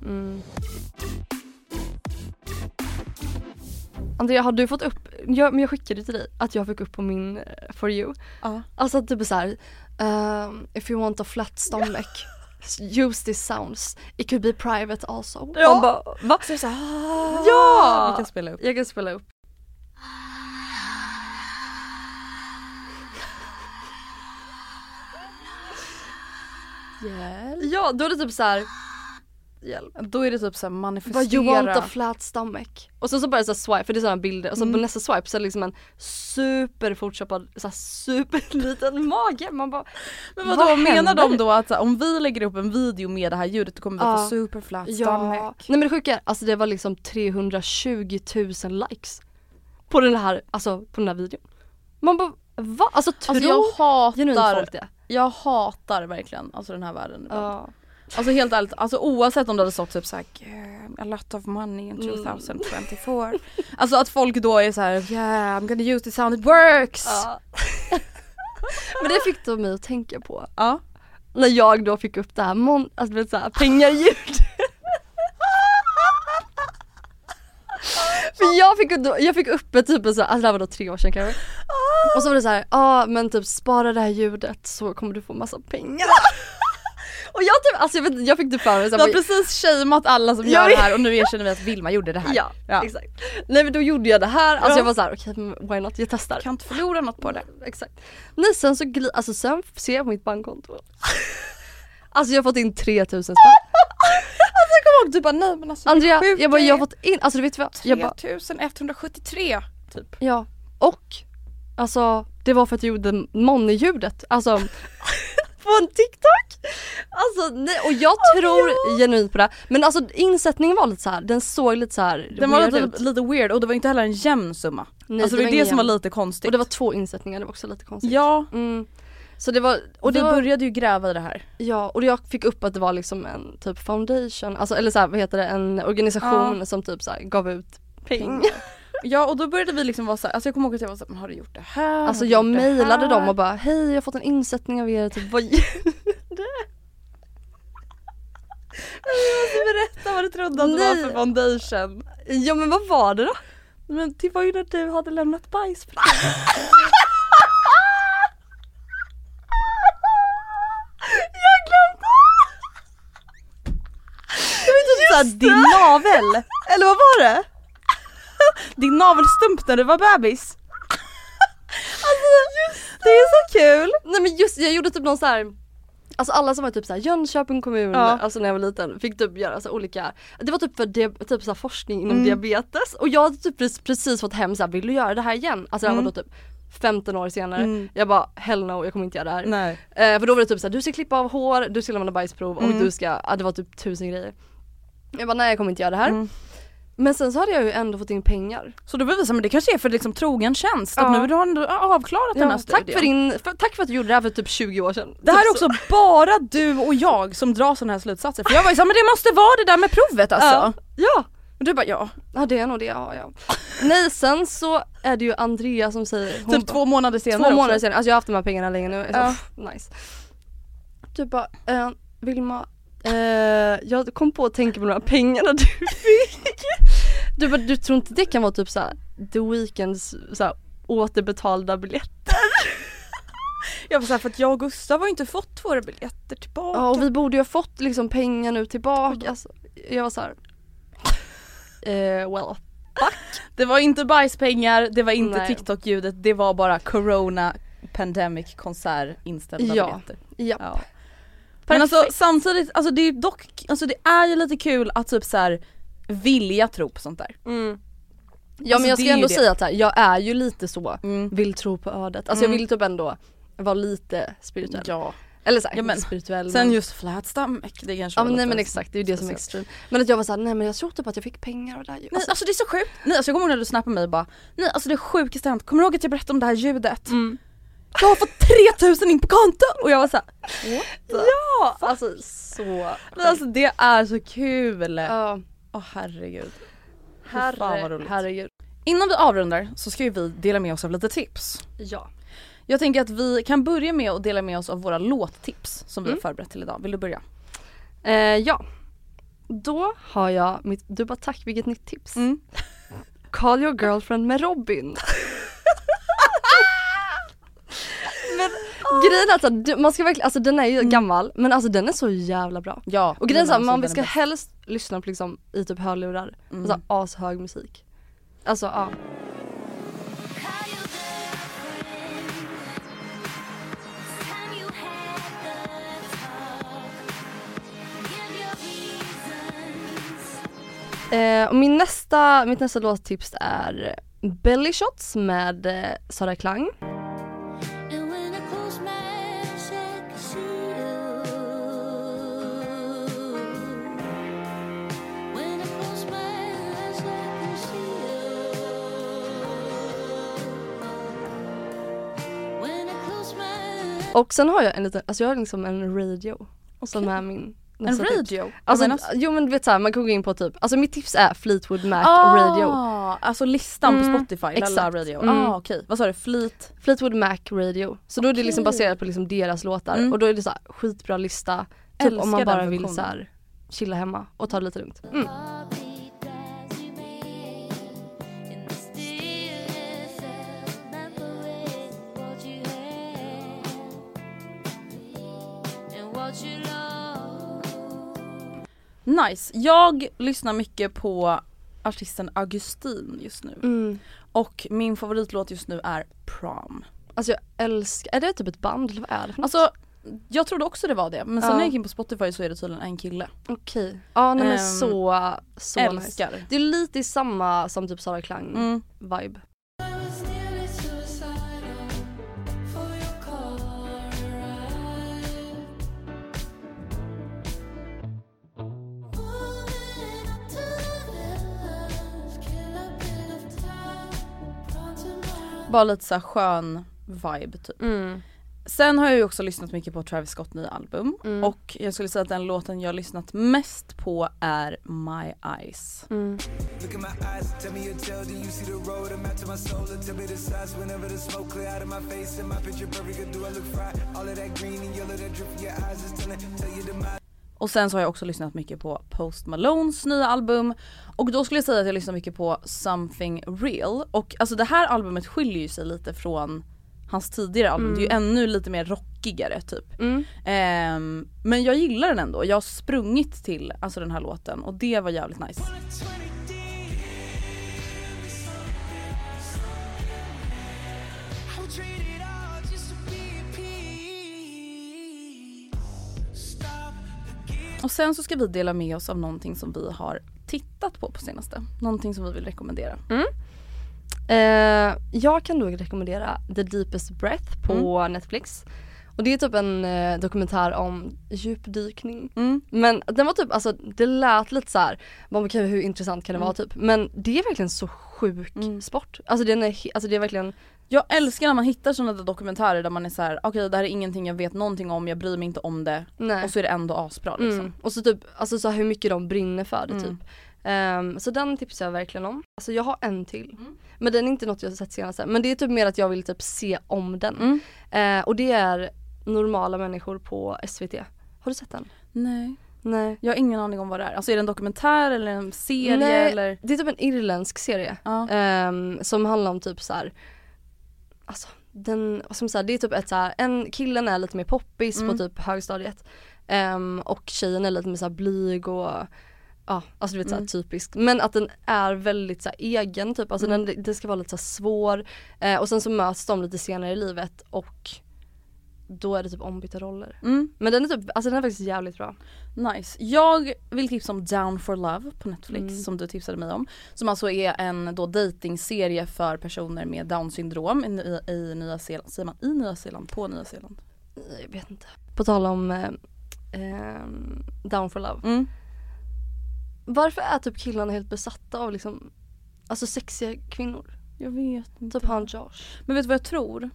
Speaker 2: Andrea har du fått upp, jag, men jag skickade till dig att jag fick upp på min eh, for you.
Speaker 1: Ja.
Speaker 2: Alltså att typ såhär, um, if you want a flat stomach use these sounds, it could be private also. Man bara,
Speaker 1: va? Så är det så här,
Speaker 2: ja!
Speaker 1: Vi kan spela upp.
Speaker 2: Jag kan spela upp.
Speaker 1: Hjälp.
Speaker 2: Ja då är det typ såhär, hjälp.
Speaker 1: Då är det typ såhär manifestera.
Speaker 2: But you want a flat stomach. Och sen så börjar jag så här swipe, för det är sådana bilder, och så
Speaker 1: Mm.
Speaker 2: på nästa swipe så är det liksom en superfortchoppad, så här superliten mage. Man bara,
Speaker 1: Men vadå menar de
Speaker 2: händer?
Speaker 1: då att så här, om vi lägger upp en video med det här ljudet då kommer vi
Speaker 2: Ja.
Speaker 1: få superflat
Speaker 2: Ja.
Speaker 1: stomach.
Speaker 2: Nej men det sjuka är, alltså det var liksom 320 000 likes. På den här, alltså på den här videon. Man bara, va? Alltså tror
Speaker 1: Alltså jag
Speaker 2: genuint
Speaker 1: hatar,
Speaker 2: folk det?
Speaker 1: jag hatar verkligen alltså den här världen ibland. Alltså helt ärligt, alltså oavsett om det hade stått typ såhär "Yeah, a lot of money in 2024. Alltså att folk då är såhär yeah I'm gonna use this sound it works.
Speaker 2: Ja. men det fick de mig att tänka på.
Speaker 1: Ja.
Speaker 2: När jag då fick upp det här, mon- alltså du vet såhär pengar-ljud. För jag fick, då, jag fick uppe typ en så här, alltså det här var då tre år sedan kanske. Och så var det så här, ja ah, men typ spara det här ljudet så kommer du få massa pengar. och jag typ, alltså jag, vet, inte, jag fick typ för mig så
Speaker 1: Du
Speaker 2: här,
Speaker 1: har precis shameat alla som
Speaker 2: Jag
Speaker 1: gör det
Speaker 2: vet.
Speaker 1: här och nu erkänner vi att Vilma gjorde det här.
Speaker 2: Ja, exakt. Nej men då gjorde jag det här, alltså
Speaker 1: Ja.
Speaker 2: jag var såhär okej men why not, jag testar.
Speaker 1: Kan inte förlora något på det.
Speaker 2: Exakt. Nej sen så gli- alltså sen ser jag på mitt bankkonto. alltså jag har fått in 3000 spänn.
Speaker 1: Alltså jag kommer ihåg du bara nej men alltså
Speaker 2: Andrea,
Speaker 1: sjukt,
Speaker 2: jag bara
Speaker 1: det
Speaker 2: jag
Speaker 1: är
Speaker 2: har fått in, alltså du vet vad? Jag bara,
Speaker 1: 3173 typ.
Speaker 2: ja. Och alltså det var för att jag gjorde Money-ljudet, alltså på en TikTok. Alltså nej, och jag tror genuint på det. Men alltså insättningen var lite så här. den såg lite så här
Speaker 1: Den var
Speaker 2: weird
Speaker 1: lite,
Speaker 2: ut.
Speaker 1: lite weird och det var inte heller en jämn summa.
Speaker 2: Nej,
Speaker 1: alltså det var det
Speaker 2: ingen
Speaker 1: som var
Speaker 2: jämn.
Speaker 1: lite konstigt.
Speaker 2: Och det var två insättningar, det var också lite konstigt.
Speaker 1: ja,
Speaker 2: Mm. Så det var,
Speaker 1: och
Speaker 2: och det
Speaker 1: vi
Speaker 2: var,
Speaker 1: började ju gräva i det här.
Speaker 2: ja och jag fick upp att det var liksom en typ foundation, alltså eller så här, vad heter det, en organisation som typ så här, gav ut pengar.
Speaker 1: Ja och då började vi liksom vara såhär, alltså jag kommer ihåg att jag var såhär, men har du gjort det här?
Speaker 2: Alltså
Speaker 1: Har du
Speaker 2: jag
Speaker 1: gjort det
Speaker 2: mejlade
Speaker 1: här?"
Speaker 2: dem och bara hej jag har fått en insättning av er, typ vad gör du?
Speaker 1: Berätta vad du trodde att det
Speaker 2: Nej.
Speaker 1: var för foundation.
Speaker 2: Ja men vad var det då?
Speaker 1: Men det var ju när du hade lämnat bajs på dig.
Speaker 2: Jag glömde! Det var typ
Speaker 1: Såhär, din navel! Eller vad var det? Din navelstump när du var bebis.
Speaker 2: Alltså, det är så kul! Nej men just jag gjorde typ någon så här. Alltså alla som var typ såhär Jönköping kommun,
Speaker 1: Ja.
Speaker 2: alltså när jag var liten, fick typ göra så här olika Det var typ för dia- typ så här forskning
Speaker 1: Mm.
Speaker 2: inom diabetes och jag hade typ precis, precis fått hem såhär, vill du göra det här igen? Alltså det
Speaker 1: Mm.
Speaker 2: här var då typ 15 år senare, jag bara hell no jag kommer inte göra det här.
Speaker 1: Nej.
Speaker 2: Eh, för då var det typ såhär, du ska klippa av hår, du ska lämna bajsprov och du ska, ja det var typ tusen grejer. Jag bara nej jag kommer inte göra det här. Men sen så hade jag ju ändå fått in pengar.
Speaker 1: Så då bevisar men det kanske är för liksom trogen tjänst
Speaker 2: Ja.
Speaker 1: att nu har du avklarat den här
Speaker 2: Ja,
Speaker 1: studien.
Speaker 2: tack, för din, för, tack för att du gjorde det här för typ 20 år sedan.
Speaker 1: Det här
Speaker 2: Typ
Speaker 1: är
Speaker 2: så.
Speaker 1: också bara du och jag som drar sådana här slutsatser. För jag var ju såhär, men det måste vara det där med provet alltså.
Speaker 2: Typ, Ja,
Speaker 1: Och du bara ja.
Speaker 2: ja det är nog det jag har ja. Nej sen så är det ju Andrea som säger, hon
Speaker 1: Typ
Speaker 2: bara-
Speaker 1: två månader senare
Speaker 2: två månader
Speaker 1: också.
Speaker 2: senare, alltså jag har haft de här pengarna länge nu,
Speaker 1: Ja.
Speaker 2: ja. nice. Typ bara, eh, Vilma, eh, jag kom på att tänka på de här pengarna du fick. Du bara, du tror inte det kan vara typ såhär The Weeknds såhär, återbetalda biljetter?
Speaker 3: Jag var såhär för att jag och Gustav har ju inte fått våra biljetter tillbaka.
Speaker 2: Ja och vi borde ju ha fått liksom pengar nu tillbaka. Alltså, jag var såhär, eh, well.
Speaker 1: Det var inte bajspengar, det var inte
Speaker 2: Nej.
Speaker 1: TikTok-ljudet, det var bara corona pandemic konsert inställda
Speaker 2: Ja.
Speaker 1: biljetter.
Speaker 2: Ja.
Speaker 1: Ja. Men alltså samtidigt, alltså det är ju dock, alltså det är ju lite kul att typ så här vilja tro på sånt där.
Speaker 3: Mm.
Speaker 2: Ja
Speaker 1: Alltså,
Speaker 2: men jag
Speaker 1: det
Speaker 2: ska
Speaker 1: är ju
Speaker 2: ändå
Speaker 1: det.
Speaker 2: säga att så här, jag är ju lite så,
Speaker 1: Mm.
Speaker 2: vill tro på ödet. Alltså jag vill typ ändå vara lite spirituell.
Speaker 1: Ja.
Speaker 2: Eller såhär,
Speaker 1: Ja, men-
Speaker 2: inte spirituell
Speaker 1: Sen
Speaker 2: men-
Speaker 1: just flat stomach, det kanske
Speaker 2: Ja
Speaker 1: var
Speaker 2: men, nej
Speaker 1: lite
Speaker 2: men exakt, det är ju det som är
Speaker 1: speciellt.
Speaker 2: extrem. Men att jag var såhär, nej men jag tror typ att jag fick pengar och det här ju.
Speaker 1: Nej
Speaker 2: Alltså,
Speaker 1: alltså det är så sjukt, nej alltså jag kommer ihåg när du snappade mig och bara Nej alltså det sjukaste har hänt, kommer du ihåg att jag berättade om det här ljudet?
Speaker 3: Mm.
Speaker 1: Jag har fått 3000 in på konto! Och jag var såhär
Speaker 2: ja! Alltså så.
Speaker 1: Nej alltså det är så kul! Åh
Speaker 2: Ja,
Speaker 1: herregud. Herre, fan vad
Speaker 2: herre,
Speaker 1: roligt.
Speaker 2: herregud.
Speaker 1: Innan vi avrundar så ska ju vi dela med oss av lite tips.
Speaker 2: Ja.
Speaker 1: Jag tänker att vi kan börja med att dela med oss av våra låttips som vi har förberett till idag. Vill du börja?
Speaker 2: Eh, ja. Då har jag mitt, du bara tack vilket nytt tips.
Speaker 1: Mm.
Speaker 2: Call your girlfriend med Robin. men grejen är alltså, du- man ska verkligen, alltså den är ju
Speaker 1: Mm.
Speaker 2: gammal men alltså den är så jävla bra.
Speaker 1: Ja.
Speaker 2: Och grejen är
Speaker 1: men
Speaker 2: såhär,
Speaker 1: alltså,
Speaker 2: man
Speaker 1: den
Speaker 2: ska
Speaker 1: är bäst.
Speaker 2: helst lyssna på liksom i typ hörlurar. Mm. Alltså ashög musik. Alltså ja. Eh, och min nästa, mitt nästa låttips är Belly Shots med eh, Sara Klang. Och sen har jag en liten, alltså jag har liksom en radio som är min
Speaker 1: En
Speaker 2: nästa tips.
Speaker 1: radio?
Speaker 2: Alltså,
Speaker 1: Jag menar-
Speaker 2: jo men du vet såhär man kan gå in på typ, alltså mitt tips är Fleetwood Mac radio.
Speaker 1: Ah, alltså listan på Spotify, Lalla
Speaker 2: exakt.
Speaker 1: radio.
Speaker 2: Mm.
Speaker 1: Ah, okej. Vad sa du? Flit?
Speaker 2: Fleetwood Mac radio. Så då är det liksom
Speaker 1: Okej.
Speaker 2: baserat på liksom deras låtar
Speaker 1: Mm.
Speaker 2: och då är det såhär skitbra lista. Typ
Speaker 1: Älskar
Speaker 2: om man
Speaker 1: den
Speaker 2: bara vill
Speaker 1: funktionen.
Speaker 2: såhär chilla hemma och ta det lite lugnt. Mm.
Speaker 1: Nice. Jag lyssnar mycket på artisten Augustin just nu.
Speaker 2: Mm.
Speaker 1: Och min favoritlåt just nu är Prom.
Speaker 2: Alltså jag älskar, är det typ ett band eller vad är det för något?
Speaker 1: Alltså jag trodde också det var det men sen
Speaker 2: Ja.
Speaker 1: när jag gick in på Spotify så är det tydligen en kille.
Speaker 2: Okej, ja nej, men
Speaker 1: Ehm,
Speaker 2: så, så nice.
Speaker 1: Älskar.
Speaker 2: Det är lite i samma som typ Sara Klang
Speaker 1: Mm.
Speaker 2: vibe.
Speaker 1: Bara lite så här skön vibe typ.
Speaker 2: Mm.
Speaker 1: Sen har jag ju också lyssnat mycket på Travis Scott nya album
Speaker 2: Mm.
Speaker 1: och jag skulle säga att den låten jag har lyssnat mest på är My Eyes.
Speaker 4: Look at my eyes, tell me your tale. Do you see the road? I'm out to my soul. And tell me the size whenever the smoke clear out of my face. And my picture perfect, or do I look fried? All of that green and yellow that drip from your eyes is telling, tell you the mind.
Speaker 1: Och sen så har jag också lyssnat mycket på Post Malones nya album och då skulle jag säga att jag lyssnar mycket på Something Real och alltså det här albumet skiljer ju sig lite från hans tidigare album. Det är ju ännu lite mer rockigare typ. Ehm, men jag gillar den ändå. Jag har sprungit till alltså den här låten och det var jävligt nice. Och sen så ska vi dela med oss av någonting som vi har tittat på på senaste. Någonting som vi vill rekommendera.
Speaker 2: Eh, jag kan då rekommendera The Deepest Breath på
Speaker 1: Mm.
Speaker 2: Netflix. Och det är typ en eh, dokumentär om djupdykning.
Speaker 1: Mm.
Speaker 2: Men den var typ, alltså det lät lite så här, man bara, okej, hur intressant kan det
Speaker 1: Mm.
Speaker 2: vara typ. Men det är verkligen så sjuk sport. Alltså, den är, he- alltså det är verkligen,
Speaker 1: Jag älskar när man hittar sådana där dokumentärer där man är så här: okej det här är ingenting jag vet någonting om, jag bryr mig inte om det.
Speaker 2: Nej.
Speaker 1: Och så är det ändå asbra liksom.
Speaker 2: Mm. Och så typ, alltså så här, hur mycket de brinner för det typ. Ehm, så den tipsar jag verkligen om. Alltså jag har en till. Men den är inte något jag har sett senast. Men det är typ mer att jag vill typ se om den. Eh, och det är normala människor på SVT. Har du sett den?
Speaker 1: Nej.
Speaker 2: Nej.
Speaker 1: Jag har ingen aning om vad det är. Alltså är det en dokumentär eller en serie
Speaker 2: Nej,
Speaker 1: eller?
Speaker 2: det är typ en irländsk serie.
Speaker 1: Ja.
Speaker 2: ehm, som handlar om typ så här. Alltså den, som så här, det är typ ett så här, en killen är lite mer poppis på typ högstadiet Ehm, och tjejen är lite mer så här blyg och ja, alltså du vet så här typiskt. Men att den är väldigt så här egen typ, alltså den, den ska vara lite så här svår Eh, och sen så möts de lite senare i livet och då är det typ ombytta roller.
Speaker 1: Mm.
Speaker 2: Men den är typ, alltså den är faktiskt jävligt bra.
Speaker 1: Nice. Jag vill tipsa om Down for Love på Netflix som du tipsade mig om. Som alltså är en då datingserie för personer med down syndrom i, Ny- i Nya Zeeland. Säger man i Nya Zeeland? På Nya Zeeland?
Speaker 2: Jag vet inte. På tal om eh, ehm, Down for Love.
Speaker 1: Mm.
Speaker 2: Varför är typ killarna helt besatta av liksom, alltså sexiga kvinnor?
Speaker 1: Jag vet inte.
Speaker 2: Typ han Josh.
Speaker 1: Men vet du vad jag tror?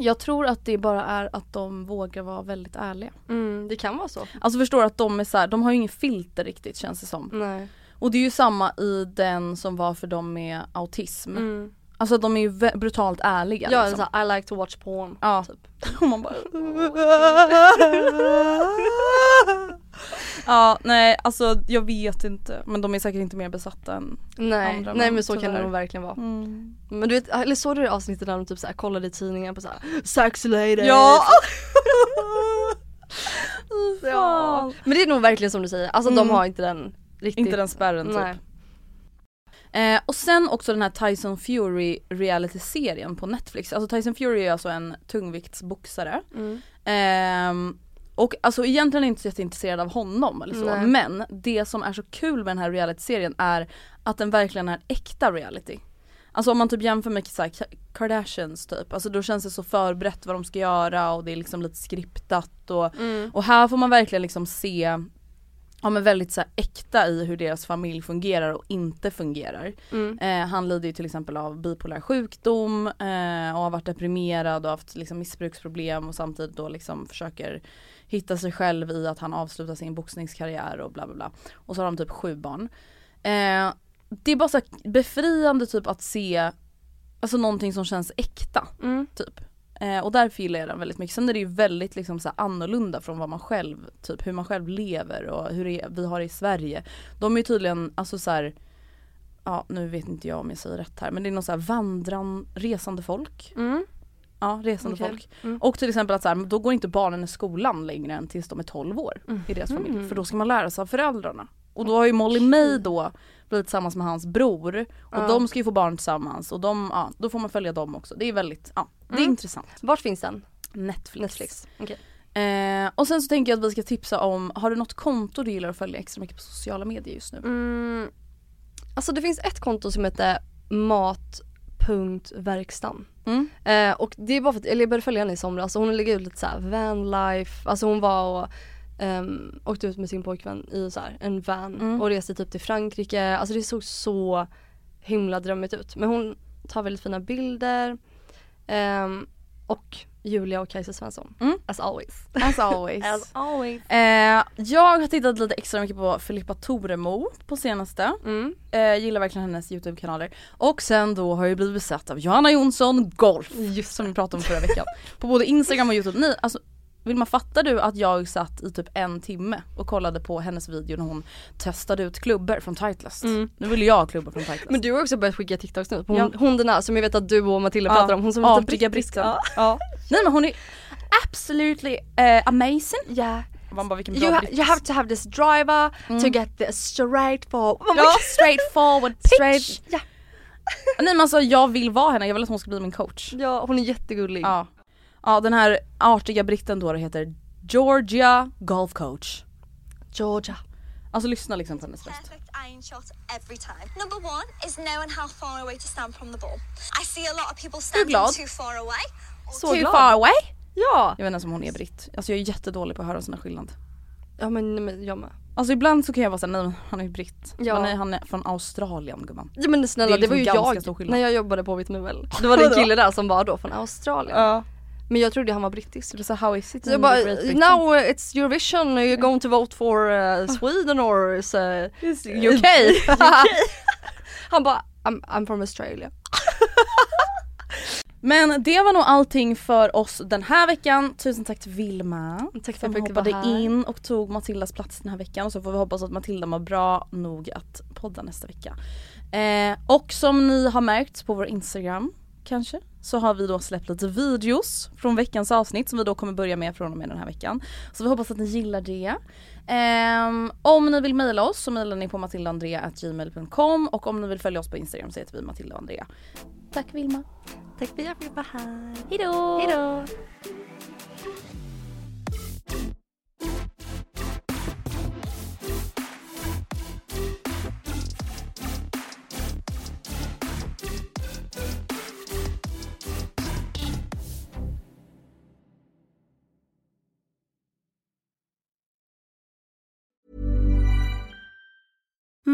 Speaker 1: Jag tror att det bara är att de vågar vara väldigt ärliga.
Speaker 2: Mm, det kan vara så.
Speaker 1: Alltså förstår du att de är så här, de har ju ingen filter riktigt känns det som.
Speaker 2: Nej.
Speaker 1: Och det är ju samma i den som var för dem med autism.
Speaker 2: Mm.
Speaker 1: Alltså de är ju vä- brutalt ärliga.
Speaker 2: Jag är
Speaker 1: liksom.
Speaker 2: såhär, I like to watch porn.
Speaker 1: Ja. Och man bara... ja nej alltså jag vet inte men de är säkert inte mer besatta än...
Speaker 2: Nej,
Speaker 1: Andra
Speaker 2: nej
Speaker 1: män,
Speaker 2: men så kan det
Speaker 1: tyvärr.
Speaker 2: nog verkligen vara.
Speaker 1: Mm.
Speaker 2: Men du vet, eller såg du det avsnittet där de typ såhär kollade i tidningen på såhär sex ladies?
Speaker 1: Ja!
Speaker 2: ja!
Speaker 1: Ja.
Speaker 2: Men det är nog verkligen som du säger, alltså de
Speaker 1: Mm.
Speaker 2: har inte den riktigt.
Speaker 1: Inte den spärren typ.
Speaker 2: Nej.
Speaker 1: Eh, och sen också den här Tyson Fury reality-serien på Netflix. Alltså Tyson Fury är alltså en tungviktsboxare.
Speaker 2: Mm.
Speaker 1: Ehm, och alltså egentligen är jag inte så jätteintresserad av honom eller så.
Speaker 2: Nej.
Speaker 1: Men det som är så kul med den här reality-serien är att den verkligen är äkta reality. Alltså om man typ jämför med så här, Ka- Kardashians typ, alltså då känns det så förberett vad de ska göra och det är liksom lite skriptat och,
Speaker 2: Mm.
Speaker 1: och här får man verkligen liksom se ja men väldigt så här äkta i hur deras familj fungerar och inte fungerar. Eh, han lider ju till exempel av bipolär sjukdom eh, och har varit deprimerad och haft liksom missbruksproblem och samtidigt då liksom försöker hitta sig själv i att han avslutar sin boxningskarriär och bla bla bla. Och så har de typ sju barn. Eh, det är bara så här befriande typ att se alltså någonting som känns äkta.
Speaker 2: Mm.
Speaker 1: Typ. Eh, och därför gillar jag den väldigt mycket. Sen är det ju väldigt liksom så här annorlunda från vad man själv, typ hur man själv lever och hur det är, vi har det i Sverige. De är ju tydligen, alltså så här, ja nu vet inte jag om jag säger rätt här men det är någon så här vandran, resande folk.
Speaker 2: Mm.
Speaker 1: Ja, resande
Speaker 2: Okej.
Speaker 1: folk.
Speaker 2: Mm.
Speaker 1: Och till exempel att så här, då går inte barnen i skolan längre än tills de är 12 år
Speaker 2: Mm.
Speaker 1: i deras familj. För då ska man lära sig av föräldrarna. Och då har ju Molly May då blivit tillsammans med hans bror och de ska ju få barn tillsammans och de, ja, då får man följa dem också. Det är väldigt, ja, det
Speaker 2: Mm.
Speaker 1: är intressant.
Speaker 2: Vart finns den?
Speaker 1: Netflix.
Speaker 2: Netflix. Okej.
Speaker 1: Eh, och sen så tänker jag att vi ska tipsa om, har du något konto du gillar att följa extra mycket på sociala medier just nu?
Speaker 2: Mm. Alltså det finns ett konto som heter mat.verkstan.
Speaker 1: Mm.
Speaker 2: Eh, och det är bara för att, eller jag började följa henne i somras och hon lägger ut lite såhär vanlife, alltså hon var och ehm, åkte ut med sin pojkvän i så här, en van
Speaker 1: Mm.
Speaker 2: och reste typ till Frankrike, alltså det såg så himla drömmigt ut. Men hon tar väldigt fina bilder Ehm, och Julia och Kajsa Svensson,
Speaker 1: Mm.
Speaker 2: as always.
Speaker 1: As always.
Speaker 2: As always.
Speaker 1: eh, jag har tittat lite extra mycket på Filippa Toremo på senaste.
Speaker 2: Mm.
Speaker 1: Eh, gillar verkligen hennes YouTube-kanaler. Och sen då har jag blivit besatt av Johanna Jonsson Golf. som vi pratade om förra veckan. På både Instagram och YouTube. Ni, alltså, vill man fatta du att jag satt i typ en timme och kollade på hennes video när hon testade ut klubbor från Titleist. Nu vill jag ha klubbor från Titleist.
Speaker 2: Men du har också börjat skicka TikToks nu. Hon,
Speaker 1: Alltså. Ja.
Speaker 2: hon den här som jag vet att du och Matilda pratar om, hon som är lite
Speaker 1: artiga
Speaker 2: brittisk.
Speaker 1: britsen.
Speaker 2: Ja.
Speaker 1: Ja. Nej men hon är absolutely eh, amazing.
Speaker 2: Yeah.
Speaker 1: Man bara vilken bra
Speaker 2: You, ha,
Speaker 1: britt.
Speaker 2: you have to have this driver to get the straight for
Speaker 1: Mm. Ja, straight forward pitch.
Speaker 2: straight. Ja.
Speaker 1: Nej men alltså jag vill vara henne, jag vill att hon ska bli min coach.
Speaker 2: ja hon är jättegullig.
Speaker 1: Ja. Ja den här artiga britten då det heter Georgia Golf Coach.
Speaker 2: Georgia.
Speaker 1: Alltså lyssna liksom på hennes röst.
Speaker 5: perfect iron shot every time. Number one is knowing how far away to stand from the ball. I see a lot of people standing
Speaker 1: glad.
Speaker 5: too far away.
Speaker 2: Så
Speaker 1: Too
Speaker 2: glad.
Speaker 1: far away.
Speaker 2: Ja.
Speaker 1: Jag vet inte ens om hon är britt. Alltså jag är jättedålig på att höra såna skillnad.
Speaker 2: Ja men, nej, men jag med.
Speaker 1: Alltså ibland så kan jag vara såhär, nej men han är ju britt.
Speaker 2: Ja.
Speaker 1: Men nej han är från Australien gumman.
Speaker 2: Ja men snälla
Speaker 1: Det
Speaker 2: det,
Speaker 1: är liksom
Speaker 2: var
Speaker 1: ganska
Speaker 2: ju
Speaker 1: stor
Speaker 2: jag
Speaker 1: skillnad.
Speaker 2: när jag jobbade på Vitt Möbel. Det var det en kille där som var då från Australien. Men jag trodde han var brittisk.
Speaker 1: Så how is it?
Speaker 2: Så jag bara, now uh, it's Eurovision, you're going to vote for uh, Sweden or is, uh,
Speaker 1: UK.
Speaker 2: Han bara, I'm, I'm from Australia.
Speaker 1: Men det var nog allting för oss den här veckan. Tusen tack till Vilma
Speaker 2: Tack för att
Speaker 1: som
Speaker 2: jag fick
Speaker 1: hoppade
Speaker 2: vara här.
Speaker 1: in och tog Matildas plats den här veckan. Och så får vi hoppas att Matilda mår bra nog att podda nästa vecka. Eh, och som ni har märkt på vår Instagram
Speaker 6: kanske, så har vi då släppt lite videos från veckans avsnitt som vi då kommer börja med från och med den här veckan. Så vi hoppas att ni gillar det. Ehm, om ni vill mejla oss så mejlar ni på matildaandrea.gmail.com och om ni vill följa oss på Instagram så heter vi Matilda och Andrea. Tack Vilma.
Speaker 7: Tack för att jag fick vara här.
Speaker 6: Hejdå! Hejdå!